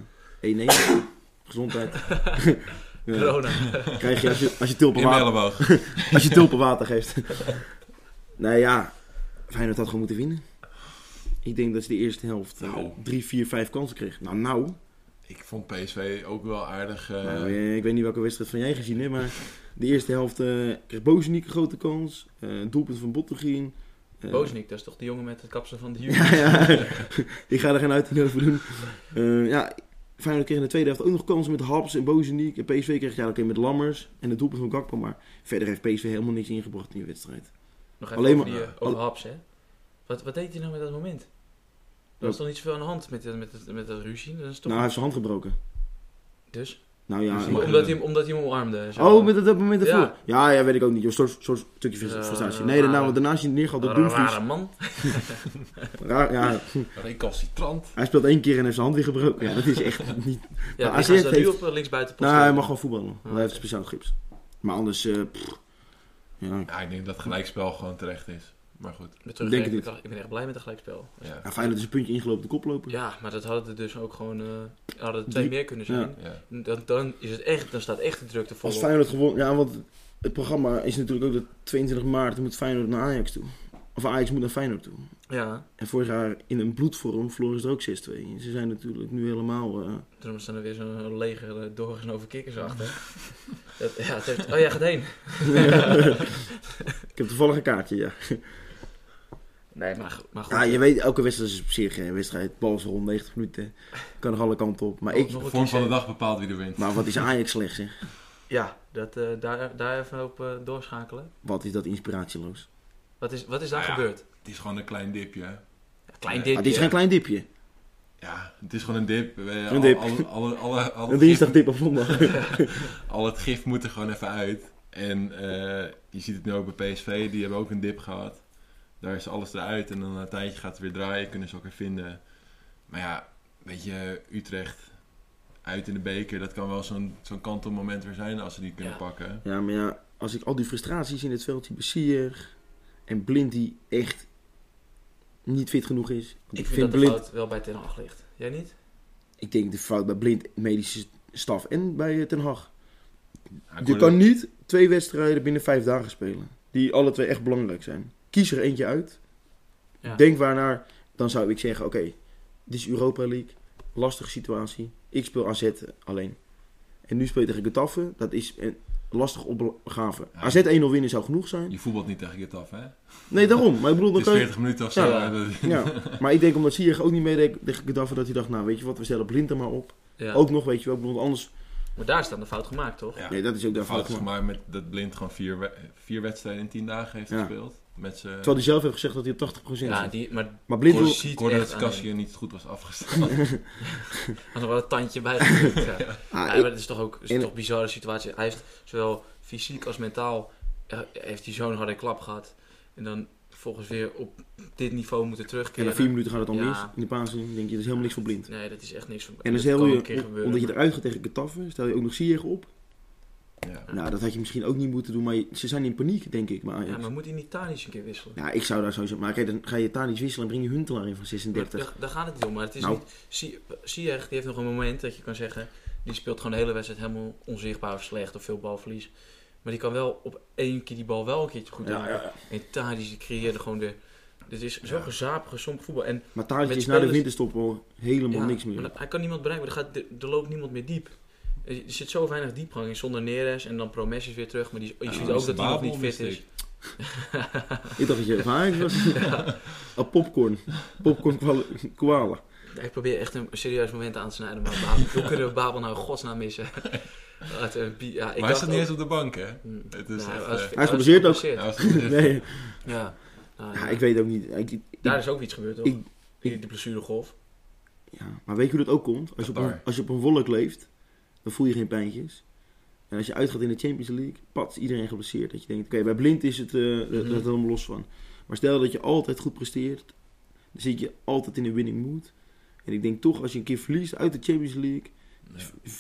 Speaker 4: 1-1. Gezondheid. ja,
Speaker 3: Corona.
Speaker 4: krijg je als je, als je
Speaker 5: In
Speaker 4: tulpen
Speaker 5: mijn
Speaker 4: water,
Speaker 5: elleboog.
Speaker 4: als je tulpen water geeft. nou ja, Feyenoord had gewoon moeten winnen. Ik denk dat ze de eerste helft eh,
Speaker 5: Nou.
Speaker 4: drie, vier, vijf kansen kreeg. Nou, nou.
Speaker 5: Ik vond PSV ook wel aardig. eh,
Speaker 4: Nou, eh, ik weet niet welke wedstrijd van jij gezien hebt, maar de eerste helft eh, kreeg Bozeniek een grote kans. Eh, een doelpunt van Bottegien. Eh,
Speaker 3: Boznik, dat is toch die jongen met het kapsel van de Juve?
Speaker 4: Ja, ja. ik ga er geen uiting over doen. Eh ja, Feyenoord kreeg in de tweede helft ook nog kansen met Habs en Bozeniek. En PSV kreeg ja, oké met Lammers en het doelpunt van Gakpo. Maar verder heeft PSV helemaal niks ingebracht in die wedstrijd.
Speaker 3: Nog even
Speaker 4: Alleen
Speaker 3: over,
Speaker 5: maar-
Speaker 3: die, eh, over Haps, hè? Wat, wat deed hij nou met dat moment? Er was toch niet zoveel aan de hand met, met, met, met dat ruzie? Dat is toch...
Speaker 4: Nou, hij heeft zijn hand gebroken.
Speaker 3: Dus?
Speaker 4: Nou ja,
Speaker 5: Dus
Speaker 4: ik-
Speaker 5: mag-
Speaker 3: Omdat hij, hem- omdat hij hem omarmde. zo.
Speaker 4: Oh, met dat, dat moment ervoor?
Speaker 3: Ja.
Speaker 4: Ja. ja, weet ik ook niet. Een soort, soort stukje
Speaker 3: Ja,
Speaker 4: frustratie.
Speaker 3: een
Speaker 4: Nee, daarna,
Speaker 3: rare-
Speaker 4: daarna is hij neergehaald door
Speaker 3: Een
Speaker 4: Dumfries.
Speaker 3: rare man.
Speaker 4: Raar, ja,
Speaker 5: Recalcitrant.
Speaker 4: hij speelt één keer en heeft zijn hand weer gebroken. Ja, dat is echt niet...
Speaker 3: Ja,
Speaker 4: AZ
Speaker 3: maar hij staat nu
Speaker 4: heeft-
Speaker 3: op eh, linksbuiten.
Speaker 4: Nou, hij mag gewoon voetballen. want
Speaker 3: oké.
Speaker 4: Hij heeft een speciaal gips. Maar anders... eh, pff, ja,
Speaker 5: Ja, ik denk dat gelijkspel gewoon terecht is. Maar goed.
Speaker 3: Terug,
Speaker 4: Denk het
Speaker 3: ik,
Speaker 4: niet.
Speaker 3: dacht, ik ben echt blij met het gelijkspel.
Speaker 5: Ja.
Speaker 4: ja, Feyenoord is een puntje ingelopen op de koploper.
Speaker 3: Ja, maar dat hadden er dus ook gewoon... eh, hadden er twee
Speaker 4: Die-
Speaker 3: meer kunnen zijn.
Speaker 5: ja.
Speaker 3: Dan, dan, is het echt, dan staat echt de drukte vol.
Speaker 4: Als
Speaker 3: op.
Speaker 4: Feyenoord gewonnen... Ja, want het programma is natuurlijk ook dat 22 maart moet Feyenoord naar Ajax toe. Of Ajax moet naar Feyenoord toe.
Speaker 3: Ja,
Speaker 4: En vorig jaar in een bloedvorm verloren ze er ook 6-2. En ze zijn natuurlijk nu helemaal... eh,
Speaker 3: toen staan er weer zo'n leger eh, doorgesnoven kikkers achter. dat, ja, het heeft, oh, jij gaat heen.
Speaker 4: ik heb toevallig een kaartje, ja.
Speaker 3: Nee, maar, go- maar goed.
Speaker 4: Ja, je weet, elke wedstrijd is op zich een wedstrijd. Bal is rond 90 minuten. Kan nog alle kanten op. Maar,
Speaker 3: Nog-
Speaker 4: ik,
Speaker 3: nog
Speaker 5: De
Speaker 3: een
Speaker 5: vorm van de
Speaker 3: cliché.
Speaker 5: dag bepaalt wie er wint.
Speaker 4: maar wat is Ajax slecht, zeg?
Speaker 3: Ja, dat, eh, daar, daar even op eh, doorschakelen.
Speaker 4: Wat is dat inspiratieloos?
Speaker 3: Wat is, wat is daar
Speaker 5: Nou ja,
Speaker 3: gebeurd?
Speaker 5: Het is gewoon een klein dipje. hè.
Speaker 3: Klein
Speaker 5: Maar
Speaker 3: dipje.
Speaker 4: Maar Ah, dit is geen klein dipje.
Speaker 5: Ja, het is gewoon een dip. Eh,
Speaker 4: Een dip.
Speaker 5: Al, alle, alle, alle, al
Speaker 4: Een
Speaker 5: het
Speaker 4: dinsdagdip op zondag.
Speaker 5: gif- al het gif moet er gewoon even uit. En eh, je ziet het nu ook bij PSV, die hebben ook een dip gehad. Daar is alles eruit en dan na een tijdje gaat het weer draaien, kunnen ze elkaar vinden. Maar ja, weet je, Utrecht uit in de beker, dat kan wel zo'n zo'n kantelmoment weer zijn als ze die kunnen
Speaker 3: Ja.
Speaker 5: pakken.
Speaker 4: Ja, maar ja, als ik al die frustraties in het veld zie, Bessier en Blind die echt niet fit genoeg is. Want
Speaker 3: Ik vind, dat de
Speaker 4: Blind,
Speaker 3: fout wel bij Ten Hag ligt. Jij niet?
Speaker 4: ik denk de fout bij Blind, medische staf en bij eh, Ten Hag.
Speaker 5: Ja, ik
Speaker 4: Je
Speaker 5: hoorde-
Speaker 4: kan niet twee wedstrijden binnen vijf dagen spelen, die alle twee echt belangrijk zijn. Kies er eentje uit,
Speaker 3: Ja.
Speaker 4: denk waarnaar, dan zou ik zeggen, oké, dit is Europa League, lastige situatie, ik speel AZ alleen. En nu speel je tegen Getafe, dat is een lastige opgave.
Speaker 5: Ja.
Speaker 4: AZ 1-0 winnen zou genoeg zijn.
Speaker 5: Je voetbalt niet tegen je af, hè?
Speaker 4: Nee, daarom. Maar ik bedoel,
Speaker 5: Het
Speaker 4: dan kan je...
Speaker 5: is 40 minuten of zo.
Speaker 3: Ja.
Speaker 5: eh, dat-
Speaker 4: Ja. Maar ik denk omdat Sierg ook niet meedeed tegen Gaddafi dat hij dacht, nou weet je wat, we stellen Blind er maar op.
Speaker 3: Ja.
Speaker 4: Ook nog, weet je wel, ik bedoel, anders...
Speaker 3: Maar daar is dan de fout gemaakt, toch?
Speaker 5: Ja.
Speaker 4: Nee, dat is ook
Speaker 5: De
Speaker 4: daar
Speaker 5: fout
Speaker 4: fout
Speaker 5: is
Speaker 4: gemaakt.
Speaker 5: gemaakt met dat Blind gewoon vier, we- vier wedstrijden in tien dagen heeft
Speaker 4: Ja.
Speaker 5: gespeeld. Met zijn
Speaker 4: Terwijl hij zelf heeft gezegd dat hij op 80%
Speaker 3: Ja,
Speaker 4: zit.
Speaker 3: die, maar
Speaker 4: Maar Blind wil...
Speaker 3: Kors- ziet
Speaker 5: Ik hoorde
Speaker 3: echt
Speaker 5: dat
Speaker 3: aan
Speaker 5: Kastje niet goed was afgesteld.
Speaker 3: had er wel een tandje bij. gezet, ja.
Speaker 4: Ah,
Speaker 3: Ja,
Speaker 4: ik-
Speaker 3: maar het is toch ook het is
Speaker 4: en-
Speaker 3: toch een bizarre situatie. Hij heeft zowel fysiek als mentaal eh, heeft hij zo'n harde klap gehad. En dan volgens weer op dit niveau moeten
Speaker 4: en
Speaker 3: terugkeren.
Speaker 4: na vier minuten gaat het dan
Speaker 3: Ja.
Speaker 4: mis. In de paas denk je, dat is helemaal niks voor Blind.
Speaker 3: Nee, dat is echt niks van.
Speaker 4: En dan
Speaker 3: dat
Speaker 4: stel
Speaker 3: kan
Speaker 4: je,
Speaker 3: een keer gebeuren,
Speaker 4: omdat je
Speaker 3: maar-
Speaker 4: eruit gaat tegen Gaddafi, stel je ook nog Sierg op.
Speaker 5: ja.
Speaker 4: Nou, dat had je misschien ook niet moeten doen, maar je- ze zijn in paniek, denk ik, bij Ajax.
Speaker 3: Ja, maar moet hij niet Tadic een keer wisselen?
Speaker 4: Ja, ik zou daar sowieso... Maar kijk, dan ga je daar niet wisselen en breng je Huntelaar in van
Speaker 3: Maar
Speaker 4: 36.
Speaker 3: daar, daar gaat het niet om. Maar het is
Speaker 4: Nou.
Speaker 3: niet. Zie- Ziyech, die heeft nog een moment dat je kan zeggen. Die speelt gewoon de hele wedstrijd helemaal onzichtbaar of slecht of veel balverlies. Maar die kan wel op één keer die bal wel een keertje goed raken. En Tadic die creëerde gewoon de, Dit is zo'n gezaap, gezonk voetbal. En
Speaker 4: Maar Taartje
Speaker 3: Met
Speaker 4: is na de
Speaker 3: spelers-
Speaker 4: winterstop al helemaal
Speaker 3: ja,
Speaker 4: niks
Speaker 3: maar
Speaker 4: meer.
Speaker 3: hij kan niemand bereiken, maar er, gaat, er, er loopt niemand meer diep. Er er zit zo weinig diepgang in zonder Neres en dan Promes is weer terug, maar die, je ziet ook dat hij nog niet fit is.
Speaker 4: Ik dacht dat je ervaring was. Ah, popcorn. Popcorn kwal- koala.
Speaker 3: Ik probeer echt een serieus moment aan te snijden, maar Babel, hoe kunnen we Babel nou in godsnaam missen? Wat een bi- ja, ik
Speaker 5: Maar hij
Speaker 3: dacht
Speaker 5: staat niet
Speaker 3: ook-
Speaker 5: eens op de bank, hè?
Speaker 3: Hmm.
Speaker 5: Het is
Speaker 3: Nou,
Speaker 5: echt,
Speaker 3: was-
Speaker 5: eh,
Speaker 4: is geblesseerd ook.
Speaker 5: Ja,
Speaker 3: geblesseerd.
Speaker 5: als het is-
Speaker 4: Nee,
Speaker 3: Ja. Nou,
Speaker 4: ja,
Speaker 3: ja.
Speaker 4: ik weet ook niet. Ik, ik-
Speaker 3: Daar is ook iets gebeurd, toch?
Speaker 4: Ik-
Speaker 3: Die- die blessuregolf.
Speaker 4: ja. Maar weet je hoe dat ook komt? Als je, op een,
Speaker 5: Qatar.
Speaker 4: als je op een wolk leeft, dan voel je geen pijntjes. En als je uitgaat in de Champions League, pat, iedereen geblesseerd. Dat je denkt, oké, bij blind is het eh dat-
Speaker 3: Mhm.
Speaker 4: dat helemaal los van. Maar stel dat je altijd goed presteert, dan zit je altijd in een winning mood. En ik denk toch, als je een keer verliest uit de Champions League,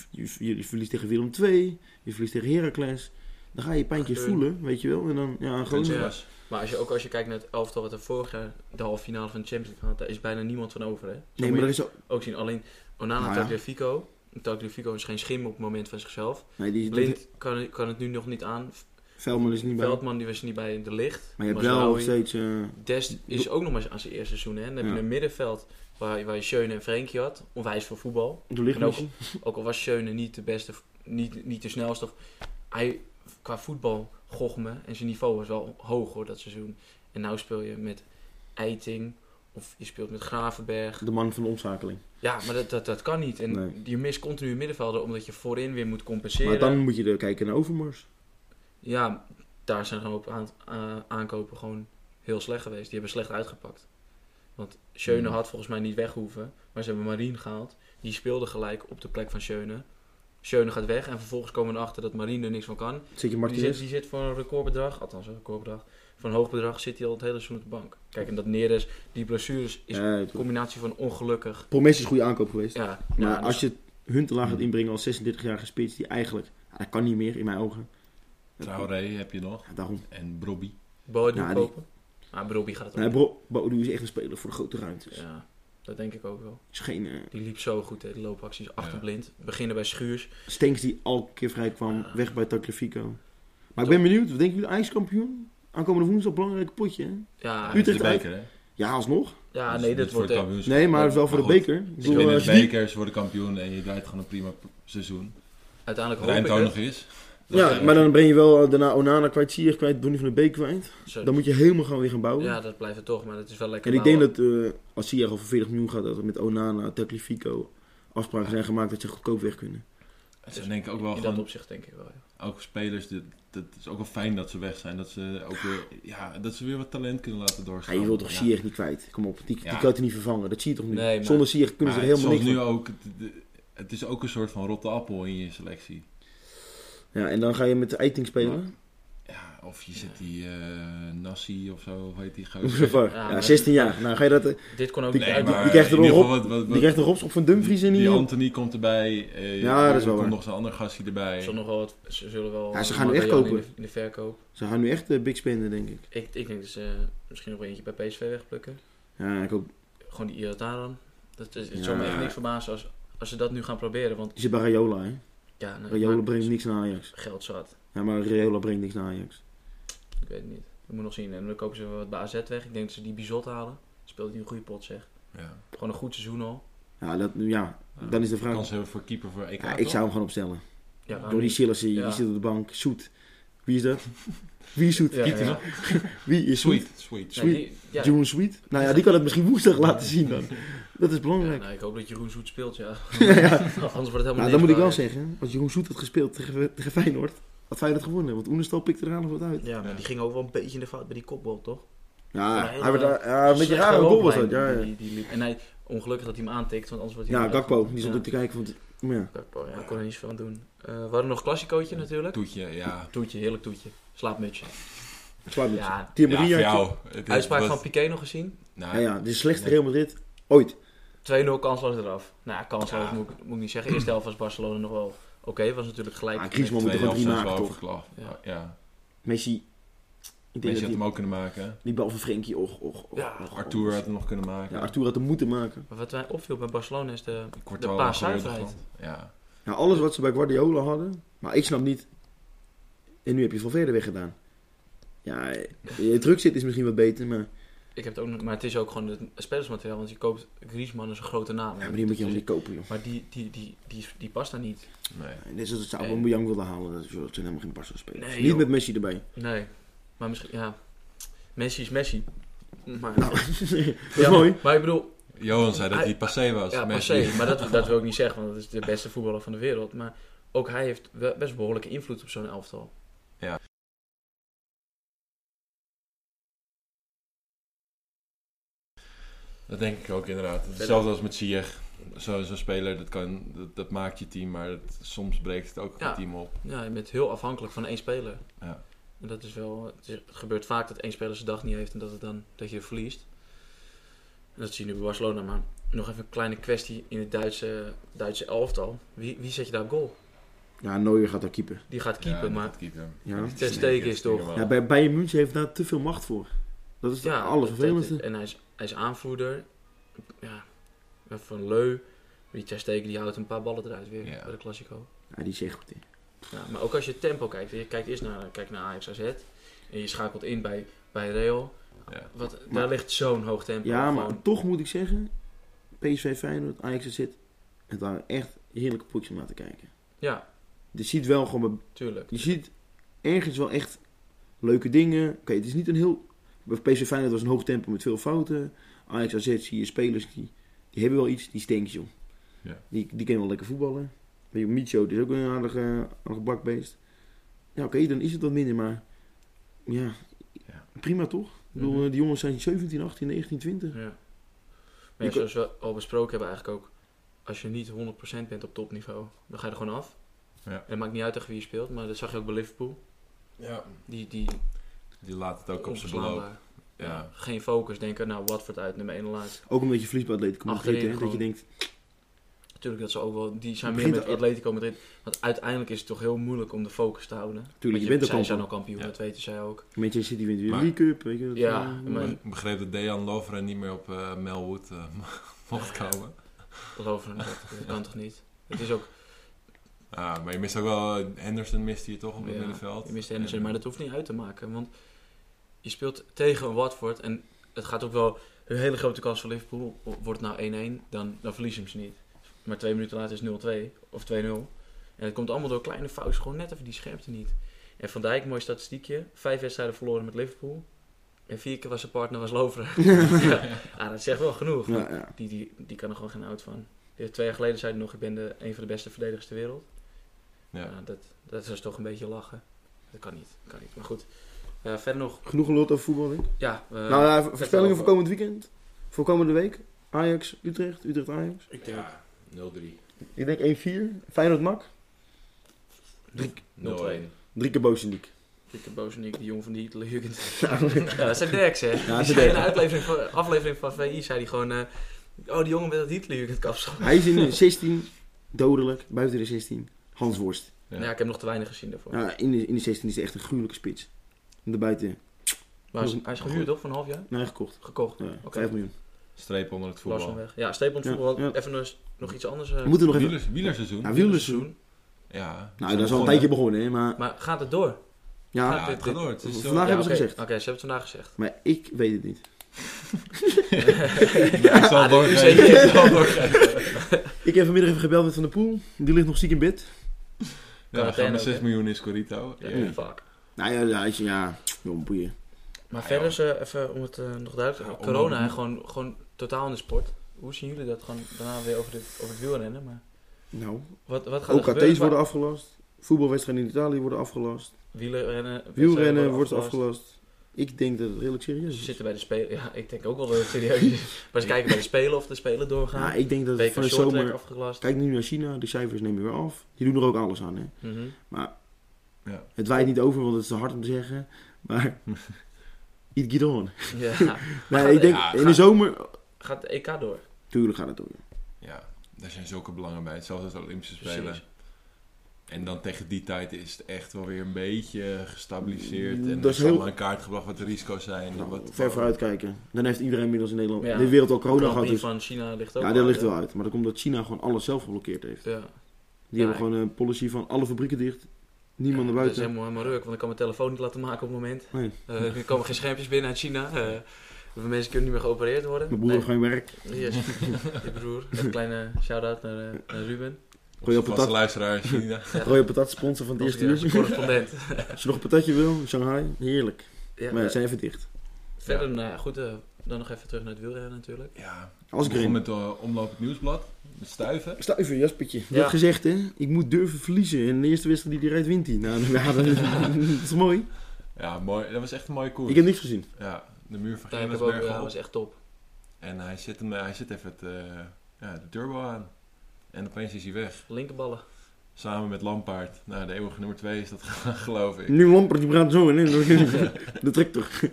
Speaker 4: je, je, je verliest tegen Willem II, je verliest tegen Heracles, dan ga je pijntjes
Speaker 3: Gebeuren.
Speaker 4: voelen, weet je wel. En dan, ja, gewoon...
Speaker 3: Ja. Maar als je, ook als je kijkt naar het elftal wat er vorig jaar de halve finale van de Champions League had, daar is bijna niemand van over. Hè? Zo
Speaker 4: Nee,
Speaker 3: moet
Speaker 4: maar
Speaker 3: je
Speaker 4: dat is ook...
Speaker 3: ook zien. Alleen Onana
Speaker 4: Nou
Speaker 3: en
Speaker 4: ja.
Speaker 3: Tagliafico. Tagliafico is geen schim op het moment van zichzelf.
Speaker 4: Nee, die, die,
Speaker 3: Blind kan, kan het nu nog niet aan.
Speaker 4: Veldman is niet bij.
Speaker 3: Veldman die was er niet bij in de licht.
Speaker 4: Maar je hebt wel
Speaker 3: Mazraoui.
Speaker 4: nog steeds... eh,
Speaker 3: Dest is ook nog maar aan zijn eerste seizoen. Hè? Dan heb je
Speaker 4: Ja.
Speaker 3: een middenveld waar, waar je Schöne en Frenkie had. Onwijs voor voetbal.
Speaker 4: de
Speaker 3: En ook,
Speaker 4: lichtmissie.
Speaker 3: ook al was Schöne niet de beste, niet, niet de snelste. Hij, qua voetbal gocht me en zijn niveau was wel hoog hoor dat seizoen. En nou speel je met Eiting of je speelt met Gravenberg.
Speaker 4: De man van de omschakeling.
Speaker 3: Ja, maar dat, dat, dat kan niet. En
Speaker 4: Nee.
Speaker 3: je mist continu een middenvelder omdat je voorin weer moet compenseren.
Speaker 4: Maar dan moet je er kijken naar Overmars.
Speaker 3: Ja, daar zijn een hoop aan, eh, aankopen gewoon heel slecht geweest. Die hebben slecht uitgepakt. Want Schöne
Speaker 4: Hmm.
Speaker 3: had volgens mij niet weg hoeven. Maar ze hebben Marien gehaald. Die speelde gelijk op de plek van Schöne. Schöne gaat weg en vervolgens komen we erachter dat Marien er niks van kan.
Speaker 4: Zit je
Speaker 3: Die zit,
Speaker 4: Martinez?
Speaker 3: die zit voor een recordbedrag, althans een recordbedrag, voor een hoog bedrag zit hij al het hele seizoen op de bank. Kijk, en dat Neres, die blessures is een
Speaker 4: Ja, het-
Speaker 3: combinatie van ongelukkig.
Speaker 4: Promes is een goede aankoop geweest.
Speaker 3: Ja,
Speaker 4: maar
Speaker 3: ja, dus-
Speaker 4: als je Huntelaar gaat inbrengen als 36-jarige spits, die eigenlijk... ah, Dat kan niet meer, in mijn ogen.
Speaker 5: Traoré heb je nog.
Speaker 4: Ja, daarom.
Speaker 5: En Brobby.
Speaker 3: Boadu
Speaker 4: Ja, Nou, die-
Speaker 3: kopen. Maar Brobby gaat het
Speaker 4: Nee,
Speaker 3: ook.
Speaker 4: bro, Bodu is echt een speler voor de grote ruimtes.
Speaker 3: Ja, dat denk ik ook wel.
Speaker 4: Is geen eh,
Speaker 3: Die liep zo goed, hè, die loopacties. Achterblind. Beginnen bij Schuurs.
Speaker 4: Stenks die al een keer vrij kwam,
Speaker 3: Ah.
Speaker 4: weg bij Tagliafico. Maar ik
Speaker 3: Toch.
Speaker 4: ben benieuwd, wat denken jullie ijskampioen? Aankomende woensdag, belangrijk potje, hè?
Speaker 3: Ja,
Speaker 5: Hij is
Speaker 4: Utrecht
Speaker 5: de
Speaker 4: uit.
Speaker 5: beker, hè?
Speaker 4: Ja, alsnog.
Speaker 3: ja
Speaker 5: Dus
Speaker 3: Ah, nee,
Speaker 5: niet
Speaker 3: dat
Speaker 5: voor
Speaker 3: wordt eh,
Speaker 5: het
Speaker 3: echt...
Speaker 5: kampioenschap.
Speaker 4: Nee, maar het is wel
Speaker 5: Maar
Speaker 4: voor de
Speaker 5: goed,
Speaker 4: beker. Ik
Speaker 5: Je
Speaker 4: bedoel,
Speaker 5: winnen
Speaker 4: als
Speaker 5: de
Speaker 4: je die-
Speaker 5: bekers, wordt kampioen en je draait gewoon een prima p- seizoen.
Speaker 3: Uiteindelijk hoop
Speaker 5: Rijmt
Speaker 3: ik
Speaker 5: ook
Speaker 3: het.
Speaker 5: nog eens. Dat is
Speaker 4: Ja,
Speaker 5: echt-
Speaker 4: maar dan breng je wel eh, daarna Onana kwijt, Sier kwijt, Donny van de Beek kwijt.
Speaker 3: Zo.
Speaker 4: Dan moet je helemaal gaan weer gaan bouwen.
Speaker 3: Ja, dat blijft het toch, maar dat is wel lekker.
Speaker 4: en ik denk
Speaker 3: bouwen.
Speaker 4: dat eh, als Sier over 40 miljoen gaat, dat er met Onana, Tagliafico afspraken zijn gemaakt dat ze goedkoop weg kunnen.
Speaker 5: Het zijn denk ik ook wel
Speaker 3: eh, In dat
Speaker 5: gewoon,
Speaker 3: opzicht denk ik wel, ja.
Speaker 5: ook spelers, dit- dat is ook wel fijn dat ze weg zijn. Dat ze ook weer, ja, dat ze weer wat talent kunnen laten
Speaker 4: Ja,
Speaker 5: doorstaan.
Speaker 4: je wilt toch
Speaker 5: Ja.
Speaker 4: Sier niet kwijt? Kom op, die, die
Speaker 5: Ja.
Speaker 4: kan je toch niet vervangen? Dat zie je toch niet?
Speaker 3: Nee, maar-
Speaker 4: Zonder Sier kunnen ze
Speaker 5: Maar
Speaker 4: er helemaal
Speaker 5: soms
Speaker 4: niks
Speaker 5: nu
Speaker 4: van.
Speaker 5: ook, het- de- het is ook een soort van rotte appel in je selectie.
Speaker 4: Ja, en dan ga je met de Eiting spelen.
Speaker 5: Ja, of je zet die eh Nassi of zo, hoe heet die gozer?
Speaker 4: Ja,
Speaker 3: Ja,
Speaker 4: ja,
Speaker 3: maar-
Speaker 4: 16 jaar. Nou, ga je dat... eh,
Speaker 3: Dit kon ook
Speaker 4: Die-
Speaker 3: niet
Speaker 5: Nee,
Speaker 3: uit.
Speaker 5: maar
Speaker 4: die krijgt er
Speaker 5: in ieder
Speaker 4: nog
Speaker 5: geval wat- wat-
Speaker 4: Die krijgt nog op van Dumfries in
Speaker 5: die, die
Speaker 4: hier.
Speaker 5: Anthony komt erbij. eh,
Speaker 4: Ja, dat is
Speaker 5: er
Speaker 4: wel
Speaker 5: komt
Speaker 4: waar.
Speaker 5: nog zo'n ander gastje
Speaker 3: Ze,
Speaker 5: erbij.
Speaker 3: zullen nog wel wat, ze zullen wel...
Speaker 4: Ja, ze gaan nu echt
Speaker 3: Marianne
Speaker 4: kopen.
Speaker 3: In de, in de verkoop.
Speaker 4: Ze gaan nu echt eh, big spenden, denk ik.
Speaker 3: Ik, ik denk dat ze eh, misschien nog wel eentje bij PSV wegplukken.
Speaker 4: Ja, ik hoop... Gewoon
Speaker 3: Gewoon die Iataren. Dat is, het
Speaker 4: Ja.
Speaker 3: zou me echt niks verbazen als, als ze dat nu gaan proberen, want...
Speaker 4: Die zit bij Rayola, hè?
Speaker 3: Ja, nee,
Speaker 4: Rayola
Speaker 3: maar-
Speaker 4: brengt niks naar Ajax.
Speaker 3: Geld zat.
Speaker 4: Ja, maar Rayola brengt niks naar Ajax.
Speaker 3: Ik weet het niet. Dat moet nog zien. En dan kopen ze wel wat bij AZ weg. Ik denk dat ze die Bizot halen. Speelt hij een goede pot, zeg.
Speaker 5: Ja.
Speaker 3: Gewoon een goed seizoen al.
Speaker 4: Ja, dat, ja dan is de vraag...
Speaker 5: Kans hebben voor keeper voor EK.
Speaker 4: Ja, ik
Speaker 5: toch?
Speaker 4: zou hem gewoon opstellen.
Speaker 3: Ja, waarom
Speaker 4: Door die
Speaker 3: niet?
Speaker 4: Sillissen,
Speaker 3: Ja.
Speaker 4: die zit op de bank. Zoet. Wie is dat? Wie is zoet?
Speaker 3: Ja, ja, ja.
Speaker 4: Wie is zoet?
Speaker 5: Sweet,
Speaker 3: Nee,
Speaker 5: sweet.
Speaker 3: die- ja.
Speaker 4: June Sweet? Nou ja, die kan het misschien woensdag laten zien dan. Dat is belangrijk.
Speaker 3: Ja, nou, ik hoop dat Jeroen Zoet speelt, ja.
Speaker 4: ja.
Speaker 3: Anders wordt het helemaal
Speaker 4: Nou,
Speaker 3: niks
Speaker 4: dat moet ik wel
Speaker 3: daar.
Speaker 4: zeggen. Als Jeroen Zoet had gespeeld tegen, tegen Feyenoord, had Feyenoord gewonnen. Want Oenestal pikte er aan nog wat uit.
Speaker 3: Ja, maar
Speaker 5: Ja.
Speaker 3: die ging ook wel een beetje in de fout bij die kopbal, toch?
Speaker 4: Ja,
Speaker 3: Maar heel,
Speaker 4: hij werd
Speaker 3: eh,
Speaker 4: daar- ja, een beetje
Speaker 3: Slechte
Speaker 4: raar goal was dat.
Speaker 3: looplijn
Speaker 4: Ja, ja.
Speaker 3: die- die liep. En hij, ongelukkig dat hij hem aantikt, want anders wordt hij...
Speaker 4: ja
Speaker 3: wel-
Speaker 4: Gakpo, die stond
Speaker 3: Ja.
Speaker 4: ook te kijken. Want, ja.
Speaker 3: Gakpo, ja, daar kon er niets van doen. Eh, we hadden nog klassicootje natuurlijk.
Speaker 5: Toetje, ja.
Speaker 3: Toetje, heerlijk toetje. Slaapmutje.
Speaker 4: Zwaar met
Speaker 3: Ja,
Speaker 4: Thierry
Speaker 5: Ja, voor
Speaker 4: Henry had je-
Speaker 5: jou. Het is-
Speaker 3: uitspraak
Speaker 5: was-
Speaker 3: van Piqué nog gezien. 2-0
Speaker 5: Nou,
Speaker 4: Ja, ja, de slechtste Real Madrid ooit.
Speaker 3: kansloos eraf. Nou ja, kansloos
Speaker 5: Ja.
Speaker 3: Moet, ik- moet ik niet zeggen. Eerste helft was Barcelona nog wel oké. was natuurlijk gelijk.
Speaker 4: Ah, Griezmann moet er
Speaker 5: tweede
Speaker 4: gewoon drie
Speaker 5: helft
Speaker 4: maken,
Speaker 5: zelfs wel
Speaker 4: toch?
Speaker 5: overklapt.
Speaker 3: Ja.
Speaker 5: Ja.
Speaker 4: Messi. Ik denk
Speaker 5: Messi
Speaker 4: dat
Speaker 5: had hem
Speaker 4: die,
Speaker 5: ook kunnen maken.
Speaker 4: die bal van Frenkie, och, och, och.
Speaker 3: Ja,
Speaker 4: och, och.
Speaker 5: Arthur had hem nog kunnen maken.
Speaker 4: Ja, Arthur had hem moeten maken.
Speaker 3: Maar wat mij opviel bij Barcelona is de, de
Speaker 5: Courtois had een goede
Speaker 3: paaszuiverheid.
Speaker 5: hand. Ja.
Speaker 4: Ja, Nou, alles wat ze bij Guardiola hadden. Maar ik snap niet. En nu heb je Valverde weggedaan. Ja, eh, je druk zit is misschien wat beter, maar...
Speaker 3: ik heb het ook, nog- maar het is ook gewoon het spelersmateriaal. Want je koopt Griezmann is een grote naam.
Speaker 4: Ja, maar die moet je
Speaker 3: Dus-
Speaker 4: helemaal niet kopen, joh.
Speaker 3: maar die, die, die, die, die past daar niet.
Speaker 5: Nee.
Speaker 4: En Net zoals ze Aubameyang wilden halen, dat ze dat zijn helemaal geen Barca spelers.
Speaker 3: Nee,
Speaker 4: niet
Speaker 3: joh.
Speaker 4: met Messi erbij.
Speaker 3: Nee. Maar misschien, ja. Messi is Messi. Maar,
Speaker 4: Nou, dat is
Speaker 3: Ja,
Speaker 4: mooi.
Speaker 3: Maar ik bedoel,
Speaker 5: Johan zei dat hij passé was.
Speaker 3: ja, per
Speaker 5: Messi.
Speaker 3: se. Maar dat, dat wil ik niet zeggen, want dat is de beste voetballer van de wereld. Maar ook hij heeft wel best behoorlijke invloed op zo'n elftal.
Speaker 5: Dat denk ik ook inderdaad. Hetzelfde als met Ziyech. Zo- Zo'n speler, dat, kan, dat, dat maakt je team, maar dat- soms breekt het ook
Speaker 3: Ja.
Speaker 5: het team op.
Speaker 3: Ja, je bent heel afhankelijk van één speler.
Speaker 5: Ja.
Speaker 3: En dat is wel, het, is- het gebeurt vaak dat één speler zijn dag niet heeft en dat, het dan, dat je verliest. En dat zie je nu bij Barcelona. Maar nog even een kleine kwestie in het Duitse, Duitse elftal. Wie, wie zet je daar op goal?
Speaker 4: Ja, Neuer gaat daar keeper.
Speaker 3: Die gaat keeper,
Speaker 5: Ja,
Speaker 3: maar
Speaker 5: dat keeper.
Speaker 4: Ja.
Speaker 3: Ter Stegen is toch-
Speaker 4: Ja, bij Bayern München heeft daar te veel macht voor. Dat is
Speaker 3: Ja,
Speaker 4: het allervervelendste.
Speaker 3: dat- En hij is, hij is aanvoerder. Ja, van Leu. Die Ter Stegen die houdt een paar ballen eruit weer
Speaker 5: Ja.
Speaker 3: bij de Classico.
Speaker 4: Ja, die is echt goed in.
Speaker 3: Ja, maar ook als je het tempo kijkt. Je kijkt eerst naar, kijk naar Ajax AZ. En je schakelt in bij, bij Real.
Speaker 5: Ja.
Speaker 3: Wat, daar
Speaker 4: Maar-
Speaker 3: ligt zo'n hoog tempo.
Speaker 4: Ja, maar
Speaker 3: gewoon.
Speaker 4: toch moet ik zeggen, PSV Feyenoord, Ajax zit. Het waren echt heerlijke potjes om naar te kijken.
Speaker 3: Ja,
Speaker 4: Je ziet wel gewoon,
Speaker 3: tuurlijk.
Speaker 4: je ziet ergens wel echt leuke dingen. Oké, het is niet een heel... Bij PSV Feyenoord was een hoog tempo met veel fouten. Ajax AZ zie je spelers die, die hebben wel iets, die stinkt joh.
Speaker 5: Ja.
Speaker 4: Die, die kunnen wel lekker voetballen. Weet je, Micho, die is ook een aardige, aardige bakbeest. Ja, oké, dan is het wat minder, maar ja,
Speaker 5: Ja.
Speaker 4: prima toch? Ik bedoel, eh,
Speaker 3: Mhm.
Speaker 4: die jongens zijn 17, 18, 19, 20.
Speaker 3: Ja. Maar
Speaker 4: Je
Speaker 3: ja,
Speaker 4: kan-
Speaker 3: zoals we al besproken hebben eigenlijk ook. Als je niet 100% bent op topniveau, dan ga je er gewoon af.
Speaker 5: Ja.
Speaker 3: En het maakt niet uit tegen wie je speelt. Maar dat zag je ook bij Liverpool.
Speaker 5: Ja.
Speaker 3: Die, die
Speaker 5: Die laat het ook op zijn
Speaker 3: onverslaanbaar.
Speaker 5: beloop. Ja.
Speaker 3: Geen focus, denken, nou Watford uit, nummer 1 laatst.
Speaker 4: Ook omdat je verliest bij Atletico Madrid,
Speaker 3: Achterin
Speaker 4: hè? Dat je
Speaker 3: gewoon.
Speaker 4: denkt,
Speaker 3: Natuurlijk dat ze ook wel, die zijn
Speaker 4: Het
Speaker 3: meer met
Speaker 4: begint-
Speaker 3: Atletico Madrid. Want uiteindelijk is het toch heel moeilijk om de focus te houden. Want
Speaker 4: je bent ook
Speaker 3: zij
Speaker 4: kampioen.
Speaker 3: zijn al kampioen,
Speaker 5: Ja.
Speaker 3: dat weten zij ook.
Speaker 4: Manchester City wint weer de
Speaker 5: Maar-
Speaker 4: League Cup, weet je dat,
Speaker 3: Ja,
Speaker 4: eh,
Speaker 3: maar-
Speaker 5: Ik begreep dat Dejan Lovren niet meer op eh, Melwood eh, mocht komen.
Speaker 3: Geloof me, dat, dat kan toch niet. Het is ook,
Speaker 5: Ah, maar je mist ook wel... eh, Henderson mist hier toch op het
Speaker 3: Ja,
Speaker 5: middenveld.
Speaker 3: je mist Henderson,
Speaker 5: En-
Speaker 3: maar dat hoeft niet uit te maken. Want je speelt tegen een Watford en het gaat ook wel een hele grote kans voor Liverpool. Wordt het nou 1-1, dan, dan verliezen ze hem ze niet. Maar twee minuten later is het 0-2 of 2-0. En het komt allemaal door kleine fouten, gewoon net even die scherpte niet. En Van Dijk, mooi statistiekje. Vijf wedstrijden verloren met Liverpool. En vier keer was zijn partner was Loveren. ja, ah, dat zegt wel genoeg.
Speaker 4: Ja, ja.
Speaker 3: Die, die, die kan er gewoon geen oud van. Die heeft Twee jaar geleden zei hij nog, ik ben de, een van de beste verdedigers ter wereld.
Speaker 5: Ja.
Speaker 3: Nou, dat, dat is toch een beetje lachen. Dat kan niet, kan niet. Maar goed, Eh, verder nog.
Speaker 4: Genoeg geluld over voetbal, denk ik.
Speaker 3: Ja, eh,
Speaker 4: nou, ja, v- voorspellingen
Speaker 3: over.
Speaker 4: voor komend weekend. Voor komende week. Ajax, Utrecht, Utrecht, Ajax.
Speaker 5: Ik
Speaker 3: eh,
Speaker 5: denk... 0-3.
Speaker 4: Ik denk 1-4. Feyenoord, Mak.
Speaker 5: 0-1.
Speaker 4: Drie keer Bozenik.
Speaker 3: Dikke Boos en ik, die jongen van die Hitlerjugend.
Speaker 4: Nou,
Speaker 3: ja, dat zijn Derks, hè.
Speaker 4: dat is
Speaker 3: die zei in
Speaker 4: Dirk.
Speaker 3: een aflevering van, aflevering van VI, zei hij gewoon... eh, oh, die jongen met dat Hitlerjugend kapsel.
Speaker 4: Hij is in de 16, dodelijk, buiten de 16. Hans Worst.
Speaker 5: Ja.
Speaker 3: Nou Ja. ik heb nog te weinig gezien daarvoor.
Speaker 4: Ja, in, de, in de 16 is hij echt een gruwelijke spits. En daarbuiten,
Speaker 3: Maar hij is, hij is gehuurd, toch? Van een half jaar?
Speaker 4: nou, gekocht.
Speaker 3: Gekocht.
Speaker 4: Ja,
Speaker 3: Oké.
Speaker 4: 5 miljoen.
Speaker 5: Streep onder het
Speaker 3: Lars van
Speaker 5: voetbal.
Speaker 3: weg. Ja, Steep
Speaker 4: Ja,
Speaker 3: voetbal.
Speaker 4: ja.
Speaker 3: Even nog, nog iets anders. eh,
Speaker 4: We moeten nog even...
Speaker 5: Wielers, wielerseizoen.
Speaker 4: Nou, wielerseizoen.
Speaker 5: Ja.
Speaker 4: Nou, dat is al een tijdje begonnen, hè. Maar
Speaker 3: Maar gaat het door?
Speaker 4: ja, nou-
Speaker 5: Ja, het gaat door. Het is zo-
Speaker 3: Ja,
Speaker 4: Vandaag- hebben ze
Speaker 3: oké.
Speaker 4: gezegd.
Speaker 3: Oké, ze hebben het vandaag gezegd.
Speaker 4: maar ik weet het niet.
Speaker 5: Ik zal het
Speaker 3: U
Speaker 5: doorgeven.
Speaker 3: zeker heeft wel doorgegaan.
Speaker 4: Ik heb vanmiddag even gebeld met Van der Poel. Die ligt nog ziek in bed.
Speaker 5: Ja, we gaan
Speaker 3: Quarantaine
Speaker 5: met
Speaker 3: ook,
Speaker 5: 6
Speaker 3: hè?
Speaker 5: miljoen is Corito. Ja.
Speaker 3: Ja, fuck.
Speaker 4: Nou ja, ja, is- ja, joh, boeien.
Speaker 3: Maar
Speaker 5: Ja,
Speaker 3: verder, is, eh, even om het eh, nog duidelijk te
Speaker 5: Ja,
Speaker 3: maken.
Speaker 5: om-
Speaker 3: corona, hè, gewoon, gewoon totaal in de sport. Hoe zien jullie dat gewoon daarna weer over, dit, over het wielrennen? Maar
Speaker 4: Nou,
Speaker 3: wat, wat gaat er
Speaker 4: ook
Speaker 3: gebeuren?
Speaker 4: AT's worden afgelast. Voetbalwedstrijden in Italië worden afgelast.
Speaker 3: Wa- Wielerrennen, wedstrijden
Speaker 4: Wielrennen
Speaker 3: worden
Speaker 4: wordt afgelast. Ik denk dat het redelijk
Speaker 3: Ze
Speaker 4: serieus is.
Speaker 3: zitten bij de Spelen. Ja, ik denk ook wel dat het serieus is. Maar ze kijken bij de Spelen of de Spelen doorgaan.
Speaker 4: Nou, ik denk dat het
Speaker 3: Weken
Speaker 4: van de
Speaker 3: shorttrack
Speaker 4: zomer...
Speaker 3: afgelast.
Speaker 4: Kijk nu naar China, de cijfers nemen weer af. Die doen er ook alles aan, hè.
Speaker 3: Mhm.
Speaker 4: Het waait niet over, want het is te hard om te zeggen. Maar... It get on.
Speaker 3: Ja.
Speaker 4: Nee, ik denk,
Speaker 5: Ja,
Speaker 4: in
Speaker 5: ga-
Speaker 4: de zomer...
Speaker 3: Gaat de EK door?
Speaker 4: Tuurlijk gaat het door.
Speaker 5: Ja, daar zijn zulke belangen bij. Hetzelfde als de Olympische Spelen.
Speaker 3: Precies.
Speaker 5: En dan tegen die tijd is het echt wel weer een beetje gestabiliseerd.
Speaker 4: Mm,
Speaker 5: En
Speaker 4: dat
Speaker 5: dat
Speaker 4: is
Speaker 5: is
Speaker 4: heel-
Speaker 5: allemaal in kaart gebracht wat de risico's zijn. en
Speaker 4: Nou,
Speaker 5: wat,
Speaker 4: ver vooruitkijken. Dan heeft iedereen inmiddels in Nederland...
Speaker 3: Ja.
Speaker 4: De wereld al corona gehad.
Speaker 3: Grand Prix
Speaker 4: Dus,
Speaker 3: van China ligt ook
Speaker 4: ja,
Speaker 3: al
Speaker 4: dat ligt
Speaker 3: uit,
Speaker 4: wel uit. Maar dat komt dat China gewoon alles zelf geblokkeerd heeft.
Speaker 3: hè. Ja.
Speaker 4: Die
Speaker 3: Ja,
Speaker 4: hebben gewoon een policy van alle fabrieken dicht. Niemand naar
Speaker 3: Dat is
Speaker 4: buiten.
Speaker 3: helemaal, helemaal leuk, want ik kan mijn telefoon niet laten maken op het moment.
Speaker 4: Nee.
Speaker 3: Eh, er komen geen schermpjes binnen uit China. Eh, Hoeveel mensen kunnen niet meer geopereerd worden?
Speaker 4: Mijn broer heeft geen werk.
Speaker 3: Nee. Yes. Je broer. Een kleine shout-out naar, eh, naar Ruben.
Speaker 4: Gooi op
Speaker 5: Vaste
Speaker 4: patat.
Speaker 5: luisteraar in China.
Speaker 4: Gooi op patat, sponsor van het
Speaker 3: Onze
Speaker 4: eerste uur.
Speaker 3: correspondent.
Speaker 4: Als je nog een patatje wil, in Shanghai, heerlijk.
Speaker 3: Ja,
Speaker 4: Maar
Speaker 3: eh,
Speaker 4: ze zijn even dicht.
Speaker 3: Verder, nou ja, goed, eh, dan nog even terug naar het wielrennen natuurlijk.
Speaker 5: Ja,
Speaker 4: Als
Speaker 5: ik
Speaker 4: ik
Speaker 5: begon
Speaker 4: erin.
Speaker 5: met eh, omlopend nieuwsblad. Met stuiven.
Speaker 4: Stuiver, Jaspertje. Je
Speaker 3: Ja.
Speaker 4: hebt gezegd, hè? Ik moet durven verliezen. En de eerste wedstrijd die hij rijdt, wint hij. Nou, dan- ja, dat, dat is mooi.
Speaker 5: Ja, mooi. dat was echt een mooie koers.
Speaker 4: Ik heb niks gezien.
Speaker 5: Ja, de muur van
Speaker 3: Uiteindelijk ook,
Speaker 5: Gerritsbergen
Speaker 3: ja,
Speaker 5: al.
Speaker 3: was echt top.
Speaker 5: En hij zet, hem, hij zet even het, eh, ja, de turbo aan. En opeens is hij weg.
Speaker 3: Linkerballen.
Speaker 5: Samen met Lampaard. Nou, de eeuwige nummer 2 is dat geloof ik.
Speaker 4: Nu Lampert, die praat zo in. hè. De tractor.
Speaker 3: Hij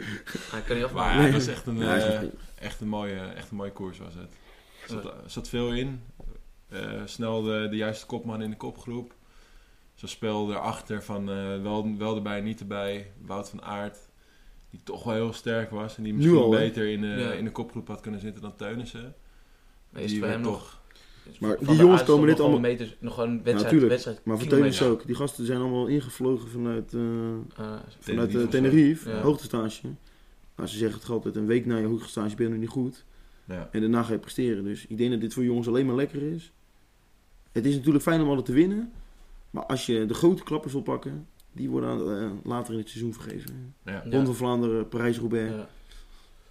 Speaker 3: Ah, kan niet afmaken.
Speaker 5: Maar ja, het was echt een,
Speaker 4: Ja, is
Speaker 5: eh,
Speaker 4: goed.
Speaker 5: echt, een mooie, echt een mooie koers was het. Er zat, er zat veel in. Eh, snel de, de juiste kopman in de kopgroep. Zo'n spel erachter van eh, wel, wel erbij, niet erbij. Wout van Aert, die toch wel heel sterk was. En die
Speaker 4: Nu
Speaker 5: misschien
Speaker 4: al, hè?
Speaker 5: beter in, eh,
Speaker 3: Ja.
Speaker 5: in de kopgroep had kunnen zitten dan Teunissen.
Speaker 3: Maar is het
Speaker 5: Die
Speaker 3: voor hem
Speaker 5: werd
Speaker 3: nog...
Speaker 4: Maar
Speaker 3: Dus Van
Speaker 4: die
Speaker 3: de
Speaker 4: jongens
Speaker 3: uitstoot
Speaker 4: komen
Speaker 3: nog
Speaker 4: dit
Speaker 3: gewoon
Speaker 4: allemaal-
Speaker 3: Meters, nog gewoon wedstrijd,
Speaker 4: tuurlijk.
Speaker 3: wedstrijd.
Speaker 4: Maar voor
Speaker 3: kilometers.
Speaker 4: Teunis ook. Die gasten zijn allemaal ingevlogen vanuit, eh
Speaker 3: Eh,
Speaker 4: vanuit eh,
Speaker 5: of zo.
Speaker 4: Tenerife.
Speaker 3: Ja.
Speaker 4: Hoogtestage. Nou, ze zeggen het toch altijd. Een week na je hoogtestage ben je nog niet goed.
Speaker 5: Ja.
Speaker 4: En daarna ga je presteren. Dus ik denk dat dit voor jongens alleen maar lekker is. Het is natuurlijk fijn om altijd te winnen. Maar als je de grote klappers wil pakken... Die worden aan- eh, later in het seizoen vergeven.
Speaker 5: Ja.
Speaker 4: Ronde van Vlaanderen, Parijs-Roubaix.
Speaker 3: ja.
Speaker 4: Ik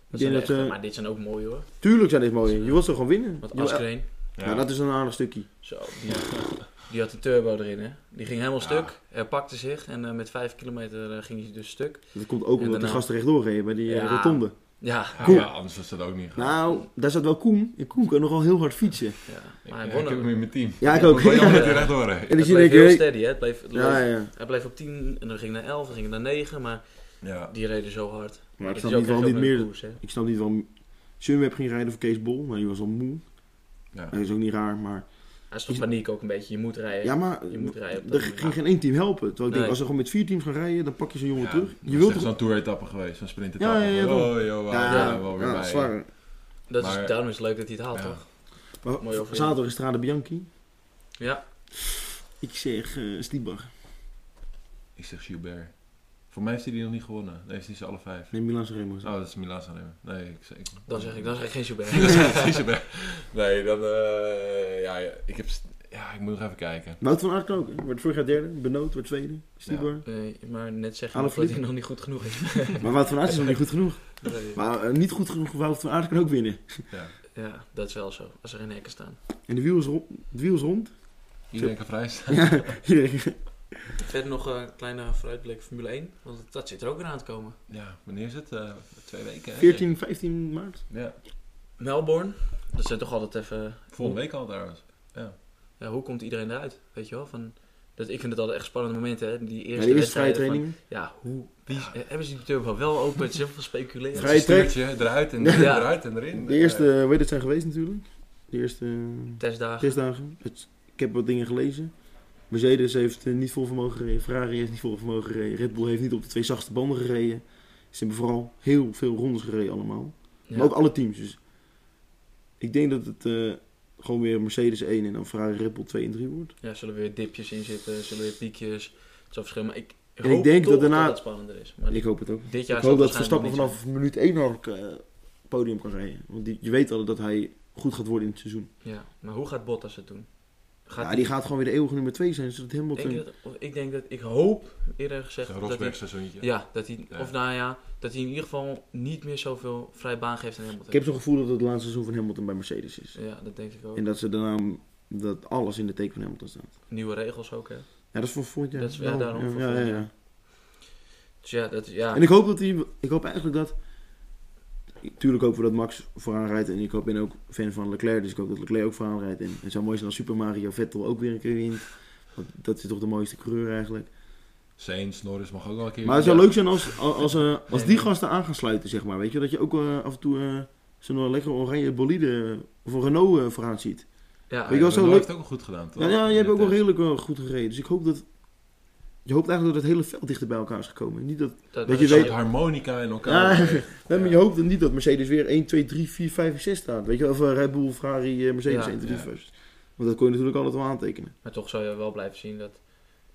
Speaker 3: Dat
Speaker 4: denk
Speaker 3: zijn
Speaker 4: dat,
Speaker 3: echt,
Speaker 4: eh,
Speaker 3: maar dit zijn ook mooi hoor.
Speaker 4: Tuurlijk zijn dit mooie. Je wilt ze gewoon winnen.
Speaker 3: Want
Speaker 4: Je wil-
Speaker 3: Askreen,
Speaker 5: Ja.
Speaker 4: Ja, dat is een aardig stukje.
Speaker 3: zo, die, die had de turbo erin hè. Die ging helemaal
Speaker 5: Ja.
Speaker 3: stuk, herpakte zich en eh, met vijf kilometer eh, ging hij dus stuk.
Speaker 4: Dat komt ook
Speaker 3: En
Speaker 4: omdat die
Speaker 3: daarna-
Speaker 4: gasten rechtdoor reden bij die eh,
Speaker 3: Ja.
Speaker 4: rotonde.
Speaker 3: Ja,
Speaker 5: Ja,
Speaker 4: Cool.
Speaker 5: ja, anders was dat ook niet gaan.
Speaker 4: Nou, daar zat wel Koen. En Koen kan nogal heel hard fietsen.
Speaker 3: ja.
Speaker 5: ik,
Speaker 3: maar hij
Speaker 5: ik
Speaker 3: won
Speaker 5: heb hem
Speaker 3: ook.
Speaker 5: in mijn team.
Speaker 4: Ja, ik ook.
Speaker 5: Ik wil
Speaker 4: Ja,
Speaker 5: jammer dat
Speaker 4: en
Speaker 5: hij rechtdoor reed.
Speaker 4: dan
Speaker 3: Het
Speaker 4: zie je
Speaker 3: bleef
Speaker 4: denk
Speaker 3: heel
Speaker 4: je...
Speaker 3: steady hè. Het bleef, het
Speaker 4: Ja,
Speaker 3: bleef-
Speaker 4: ja.
Speaker 3: Hij bleef op 10 en dan ging hij naar 11 en ging hij naar 9, maar
Speaker 5: Ja.
Speaker 3: die reden zo hard.
Speaker 4: Maar ik
Speaker 3: Het
Speaker 4: snap
Speaker 3: is
Speaker 4: niet
Speaker 3: ook
Speaker 4: waarom
Speaker 3: echt
Speaker 4: niet
Speaker 3: zo'n leuke
Speaker 4: meer...
Speaker 3: koers, hè.
Speaker 4: Ik snap niet waarom Sunweb ging rijden voor Kees Bol. Maar die was al moe.
Speaker 5: Ja.
Speaker 4: Dat is ook niet raar, maar...
Speaker 3: Hij is toch paniek ook een beetje, je moet rijden.
Speaker 4: Ja, maar...
Speaker 3: Je moet rijden op dat
Speaker 4: Er
Speaker 3: moment.
Speaker 4: ging geen één team helpen. Terwijl ik
Speaker 3: Nee.
Speaker 4: denk, als ze gewoon met vier teams gaan rijden, dan pak je zo'n jongen
Speaker 5: Ja,
Speaker 4: terug.
Speaker 5: dat
Speaker 4: Je
Speaker 5: is
Speaker 4: wilt
Speaker 5: echt
Speaker 4: toch...
Speaker 5: zo'n tour-etappe geweest, zo'n sprint-etappe.
Speaker 4: Ja, ja, ja,
Speaker 5: Van,
Speaker 4: toch?
Speaker 5: oh, joh, wow,
Speaker 4: Ja,
Speaker 5: daar zijn we wel weer
Speaker 4: ja,
Speaker 5: bij.
Speaker 4: zwaar.
Speaker 3: Dat
Speaker 5: Maar-
Speaker 3: is, daarom is het leuk dat hij het haalt
Speaker 5: Ja.
Speaker 3: toch?
Speaker 4: Maar
Speaker 3: Mooi overwinning.
Speaker 4: Zaterdag is Strade Bianchi.
Speaker 3: Ja,
Speaker 4: Ik zeg eh Stibar.
Speaker 5: Ik zeg Gilbert. Voor mij heeft hij die nog niet gewonnen. Nee, heeft hij ze alle vijf.
Speaker 4: Nee, Milan Sanremo.
Speaker 5: Oh, dat is Milan Sanremo. Nee, ik zeg...
Speaker 3: dan zeg ik, dan zeg ik geen Joubert.
Speaker 5: Dan zeg ik Gilbert. Nee, dan... eh, ja, ja, ik heb... st- Ja, ik moet nog even kijken.
Speaker 4: Wout van Aert kan ook. hè. Wordt vorig jaar derde. Benoot wordt tweede. Stibar.
Speaker 3: Nee, maar net zeggen dat
Speaker 4: Alaphilippe.
Speaker 3: hij nog niet goed genoeg is.
Speaker 4: Maar Wout van Aert is nog niet goed genoeg.
Speaker 3: Nee.
Speaker 4: Maar eh, niet goed genoeg Wout van Aert kan ook winnen.
Speaker 5: Ja.
Speaker 3: ja, dat is wel zo. Als er geen hekken staan.
Speaker 4: En de wiel is, ro- het wiel is rond.
Speaker 5: Iedereen kan vrij staan.
Speaker 4: Ja, iedereen-
Speaker 3: Verder nog eh, een kleine vooruitblik Formule 1. Want dat zit er ook weer aan te komen.
Speaker 5: Ja, wanneer is het? Eh, twee weken, hè?
Speaker 4: 14, 15 maart.
Speaker 5: Ja,
Speaker 3: Melbourne. Dat zijn toch altijd even...
Speaker 5: volgende week al trouwens.
Speaker 3: Ja, hoe komt iedereen eruit? Weet je wel? Van, dat, ik vind het altijd echt spannende momenten. Hè? Die
Speaker 4: Ja,
Speaker 3: eerste,
Speaker 4: de eerste vrije
Speaker 3: wedstrijden van-
Speaker 4: trainingen.
Speaker 3: ja, hoe... Wie, eh, hebben ze die turbo wel open? Het is heel veel speculeren.
Speaker 4: Vrij
Speaker 5: Vrij stuurtje, eruit en
Speaker 4: Ja.
Speaker 5: eruit en erin.
Speaker 4: De eerste, weet je het zijn geweest natuurlijk. De eerste eh,
Speaker 3: Testdagen.
Speaker 4: testdagen. Het, ik heb wat dingen gelezen. Mercedes heeft eh, niet vol vermogen gereden. Ferrari heeft niet vol vermogen gereden. Red Bull heeft niet op de twee zachte banden gereden. Ze hebben vooral heel veel rondes gereden allemaal.
Speaker 3: Ja.
Speaker 4: Maar ook alle teams. Dus ik denk dat het eh, gewoon weer Mercedes 1 en dan Ferrari Red Bull 2 en 3 wordt.
Speaker 3: Ja, zullen weer dipjes in zitten. Zullen weer piekjes. Het zal verschillen. Maar ik
Speaker 4: ik
Speaker 3: hoop
Speaker 4: denk
Speaker 3: toch
Speaker 4: dat daarna-
Speaker 3: het spannender is. Maar
Speaker 4: Ik hoop het ook.
Speaker 3: dit jaar
Speaker 4: ik
Speaker 3: zal
Speaker 4: hoop dat
Speaker 3: het
Speaker 4: Verstappen
Speaker 3: waarschijnlijk
Speaker 4: vanaf minuut 1 al eh podium kan rijden. Want die, je weet al dat hij goed gaat worden in het seizoen.
Speaker 3: niet zijn. Ja, maar hoe gaat Bottas het doen? Gaat
Speaker 4: ja,
Speaker 3: hij-
Speaker 4: die gaat gewoon weer de eeuwige nummer 2 zijn, zodat Hamilton...
Speaker 3: Denk je dat, of ik denk dat ik hoop eerder gezegd
Speaker 5: Eh, Zo'n
Speaker 3: dat hij,
Speaker 5: Rosberg seizoentje.
Speaker 3: ja, dat hij
Speaker 5: Ja.
Speaker 3: of nou ja, dat hij in ieder geval niet meer zoveel vrij baan geeft aan Hamilton.
Speaker 4: Ik heb zo'n gevoel dat het het laatste seizoen van Hamilton bij Mercedes is.
Speaker 3: ja, dat denk ik ook.
Speaker 4: En dat ze daarna dat alles in de teken van Hamilton staat.
Speaker 3: Nieuwe regels ook hè.
Speaker 4: Ja, dat is voor volgend jaar.
Speaker 3: Dat is- ja, daarom voor
Speaker 4: ja, ja,
Speaker 3: volgend
Speaker 4: ja.
Speaker 3: jaar. Dus ja, dat is- ja.
Speaker 4: En ik hoop dat hij... Ik hoop eigenlijk dat... Tuurlijk hopen we dat Max vooraan rijdt. En ik hoop- ben ook fan van Leclerc. Dus ik hoop dat Leclerc ook vooraan rijdt. En het zou mooi zijn als Super Mario Vettel ook weer een keer wint. Want dat is toch de mooiste coureur eigenlijk.
Speaker 5: Saints, Norris mag ook wel een keer.
Speaker 4: Maar het zou
Speaker 5: Ja.
Speaker 4: leuk zijn als, als, als, eh, als
Speaker 3: Nee,
Speaker 4: die
Speaker 3: nee.
Speaker 4: gasten aan gaan sluiten, zeg maar. Weet je, dat je ook eh, af en toe eh, zo'n lekkere oranje bolide of een Renault eh, vooraan ziet.
Speaker 3: ja,
Speaker 4: Weet je wel,
Speaker 5: Renault
Speaker 4: zo leuk-
Speaker 5: heeft Ah, het ook goed gedaan, toch?
Speaker 4: Ja, ja, je hebt ook wel
Speaker 5: heel
Speaker 4: redelijk wel goed gereden. Dus ik hoop dat... Je hoopt eigenlijk dat het hele veld dichter bij elkaar is gekomen. Niet dat,
Speaker 3: dat,
Speaker 4: weet
Speaker 3: dat
Speaker 4: je
Speaker 3: is-
Speaker 5: soort harmonica in
Speaker 4: Ja.
Speaker 5: elkaar. gelegd.
Speaker 4: nee, maar je hoopt niet dat Mercedes weer 1, 2, 3, 4, 5 en 6 staat. Weet je, wel, of eh, Red Bull, Ferrari, eh, Mercedes
Speaker 3: Ja.
Speaker 4: 1, 2,
Speaker 5: Ja.
Speaker 4: 3, 5, 6. Want dat kon je natuurlijk altijd wel aantekenen.
Speaker 3: Maar toch zou je wel blijven zien dat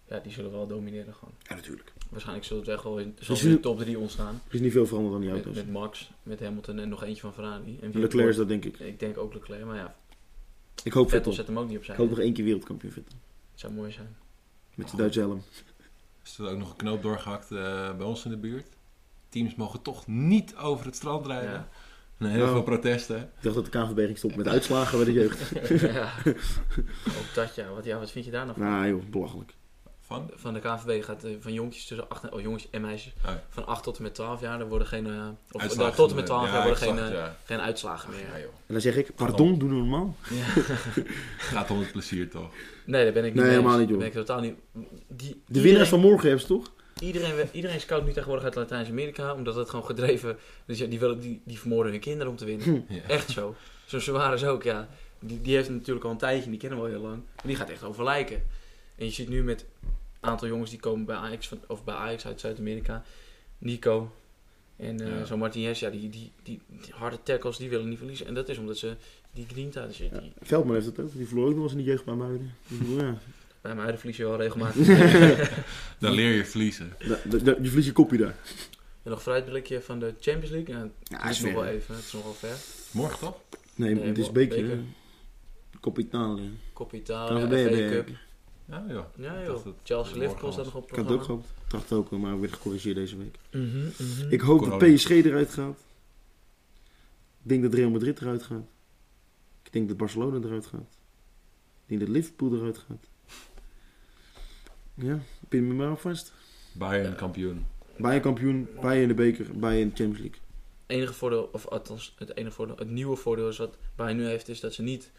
Speaker 3: ja, die zullen wel domineren gewoon.
Speaker 4: Ja, natuurlijk.
Speaker 3: Waarschijnlijk zullen het echt wel in
Speaker 4: Dus
Speaker 3: zal
Speaker 4: jullie-
Speaker 3: de top 3 ontstaan.
Speaker 4: Er is niet veel veranderd aan die
Speaker 3: Met,
Speaker 4: auto's.
Speaker 3: met Max, met Hamilton en nog eentje van Ferrari. En wie
Speaker 4: Leclerc
Speaker 3: het
Speaker 4: is dat, denk ik.
Speaker 3: wordt- Ik denk ook Leclerc, maar ja,
Speaker 4: Ik
Speaker 3: Vettel
Speaker 4: hoop Vettel.
Speaker 3: zet hem ook niet
Speaker 4: Ik
Speaker 3: opzij.
Speaker 4: hoop nog één keer wereldkampioen Vettel.
Speaker 3: zou mooi zijn.
Speaker 4: Met de Duitse helm.
Speaker 5: Is er ook nog een knoop doorgehakt eh, bij ons in de buurt? Teams mogen toch niet over het strand rijden.
Speaker 3: Ja.
Speaker 5: En heel
Speaker 4: Nou.
Speaker 5: veel protesten.
Speaker 4: Ik dacht dat de KNVB ging stoppen met uitslagen bij de jeugd.
Speaker 3: ja. Ook dat ja. Wat, ja, wat vind je daar nou van?
Speaker 4: Nou joh, belachelijk.
Speaker 5: Van?
Speaker 3: Van de KNVB gaat eh, van jongetjes tussen 8 en, oh, jongens en meisjes,
Speaker 5: Oh ja.
Speaker 3: van 8 tot en met 12 jaar, er worden geen, eh, of
Speaker 5: Uitslag-
Speaker 3: tot en met 12
Speaker 5: ja,
Speaker 3: jaar worden geen,
Speaker 5: uitslag,
Speaker 3: eh,
Speaker 5: ja.
Speaker 3: geen uitslagen meer.
Speaker 5: Ja, joh.
Speaker 4: En dan zeg ik, pardon, doen we normaal.
Speaker 5: Gaat om het plezier toch?
Speaker 3: Nee, daar ben ik niet
Speaker 4: Nee,
Speaker 3: mee eens.
Speaker 4: helemaal
Speaker 3: Daar
Speaker 4: niet, joh.
Speaker 3: Ben ik totaal niet. Die,
Speaker 4: De
Speaker 3: iedereen-
Speaker 4: winnaars van morgen hebben ze toch?
Speaker 3: Iedereen, iedereen scout nu tegenwoordig uit Latijns-Amerika, omdat dat gewoon gedreven. Dus ja, die, willen, die, die vermoorden hun kinderen om te winnen.
Speaker 5: Ja.
Speaker 3: Echt zo. Zo'n Suarez ook, ja. Die, die heeft hem natuurlijk al een tijdje, en die kennen we al heel lang. Maar die gaat echt over lijken. En je ziet nu met een aantal jongens die komen bij Ajax, van, of bij Ajax uit Zuid-Amerika. Nico en eh
Speaker 5: Ja.
Speaker 3: zo'n Martinez, ja, die, die, die, die harde tackles, die willen niet verliezen. En dat is omdat ze die Grinta, dus je- die,
Speaker 4: Veldman heeft het ook. Die verloor ook nog eens in de jeugd bij Muiden. Ik bedoel, ja.
Speaker 3: bij mij verlies je wel regelmatig.
Speaker 5: Dan leer je verliezen.
Speaker 4: Da- da- da- je verliest je kopje daar.
Speaker 3: En nog vooruitblikje van de Champions League. Nou,
Speaker 4: Ja,
Speaker 3: het is nog wel
Speaker 4: Nee,
Speaker 3: even, het is nog wel ver.
Speaker 5: Morgen toch?
Speaker 3: Nee,
Speaker 4: het is
Speaker 3: mo-
Speaker 4: beker.
Speaker 3: beker.
Speaker 4: hè. Kop Italië.
Speaker 3: Kop
Speaker 4: KNVB
Speaker 3: Italië,
Speaker 4: ben
Speaker 3: FA
Speaker 4: je-
Speaker 3: Cup.
Speaker 5: Ja, joh.
Speaker 3: Ja
Speaker 5: Ik
Speaker 3: joh,
Speaker 5: dacht dat-
Speaker 3: Chelsea
Speaker 5: dat
Speaker 3: Liverpool
Speaker 5: morgen
Speaker 3: staat nog
Speaker 5: was.
Speaker 3: op
Speaker 4: Ik had
Speaker 3: het
Speaker 4: het ook
Speaker 3: programma.
Speaker 4: gehoopt. Ik dacht het ook, maar werd gecorrigeerd deze week.
Speaker 3: Mhm, mhm.
Speaker 4: Ik hoop dat
Speaker 5: Corona.
Speaker 4: PSG eruit gaat. Ik denk dat Real Madrid eruit gaat. Ik denk dat Barcelona eruit gaat. Ik denk dat Liverpool eruit gaat. Ja, pin me maar op vast.
Speaker 5: Bayern kampioen.
Speaker 4: Bayern kampioen, Bayern de beker, Bayern de Champions League.
Speaker 3: enige voordeel, of althans het enige voordeel, het nieuwe voordeel is wat Bayern nu heeft, is dat ze niet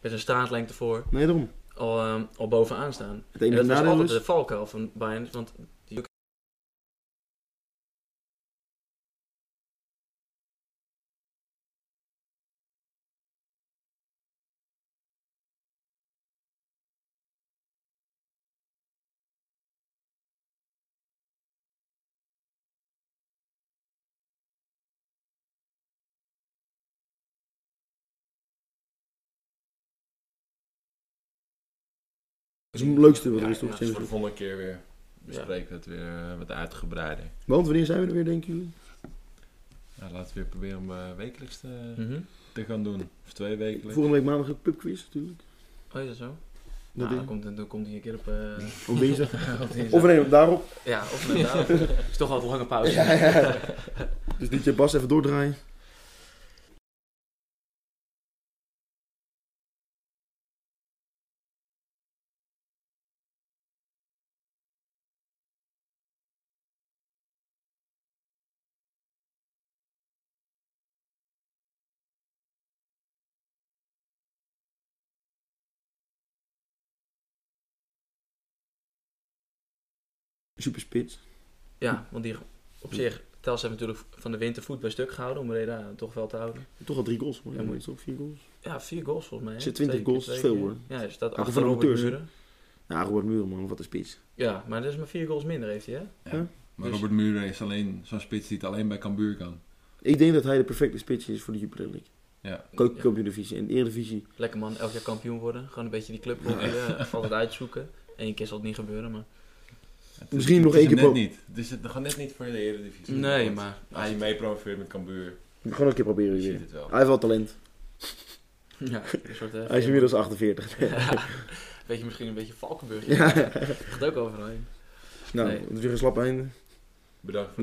Speaker 3: met een staatlengte voor
Speaker 4: Nee, daarom.
Speaker 3: al, ehm, al bovenaan staan.
Speaker 4: Het
Speaker 3: En
Speaker 4: enige
Speaker 3: dat was
Speaker 4: nadeel
Speaker 3: altijd
Speaker 4: is...
Speaker 3: de valkuil van Bayern, want die
Speaker 4: Dat is het leukste wat er is, toch?
Speaker 3: Ja, ja,
Speaker 5: Dus
Speaker 4: Champions
Speaker 5: voor de
Speaker 4: League.
Speaker 5: volgende keer weer bespreken we het weer eh, wat uitgebreider.
Speaker 4: Want wanneer zijn we er weer, denken jullie?
Speaker 5: Nou, laten we weer proberen om eh, wekelijks te,
Speaker 4: Hm.
Speaker 3: Mhm.
Speaker 5: te gaan doen. Of twee wekelijks.
Speaker 4: Volgende week maandag ook pubquiz, natuurlijk.
Speaker 3: Oh, is dat zo?
Speaker 4: Dat
Speaker 3: Nou, dan,
Speaker 4: ding.
Speaker 3: komt, dan komt hij een keer op... eh,
Speaker 4: Op dinsdag.
Speaker 3: op dinsdag.
Speaker 4: Of nee, daarop.
Speaker 3: Ja, of net daarop. Het is toch al een lange pauze.
Speaker 4: Dus DJ Bas even doordraaien. Super spits.
Speaker 3: Ja, want die op zich, Tels heeft natuurlijk van de winter voet bij stuk gehouden om Breda toch wel te houden.
Speaker 4: Toch al drie goals. Ja,
Speaker 3: Ja.
Speaker 4: mooi toch? Vier goals.
Speaker 3: Ja, vier goals volgens mij. hè?
Speaker 4: Zit 20
Speaker 3: Twee keer,
Speaker 4: goals,
Speaker 3: twee
Speaker 4: dat is
Speaker 3: keer.
Speaker 4: veel,
Speaker 3: Ja,
Speaker 4: hoor.
Speaker 3: hij staat
Speaker 4: Ook
Speaker 3: achter
Speaker 4: van de
Speaker 3: Robert
Speaker 4: auteurs, hè?
Speaker 3: Muren.
Speaker 4: Nou, Robert Muurman, wat een spits.
Speaker 3: Ja, maar dat is maar vier goals minder heeft hij, hè?
Speaker 5: Maar
Speaker 4: Dus-
Speaker 5: Robert Muren is alleen zo'n spits die het alleen bij Cambuur kan.
Speaker 4: Ik denk dat hij de perfecte spits is voor de Jupiler League.
Speaker 5: Ja.
Speaker 4: Kook Divisie en de Eredivisie.
Speaker 3: Lekker man, elk jaar kampioen worden. Gewoon een beetje die club op, eh, altijd uitzoeken. Eén keer zal het niet gebeuren, maar...
Speaker 5: Het
Speaker 4: Misschien nog
Speaker 5: het is
Speaker 4: één keer
Speaker 5: hem
Speaker 4: pro-
Speaker 5: net niet. Dus het nog net niet voor de Eredivisie.
Speaker 3: Nee,
Speaker 5: Want
Speaker 3: maar...
Speaker 5: Als je mee promoveert met Cambuur,
Speaker 4: Gewoon een keer proberen
Speaker 5: je ziet
Speaker 4: weer.
Speaker 5: het wel.
Speaker 4: Hij heeft wel talent.
Speaker 3: Ja, een soort... eh,
Speaker 4: Hij is inmiddels 48.
Speaker 3: Weet je, misschien een beetje Valkenburg.
Speaker 4: Ja.
Speaker 3: Gaat ook overheen.
Speaker 4: Nou,
Speaker 3: Nee.
Speaker 4: het is weer een slap einde.
Speaker 5: Bedankt
Speaker 4: Nou,
Speaker 5: voor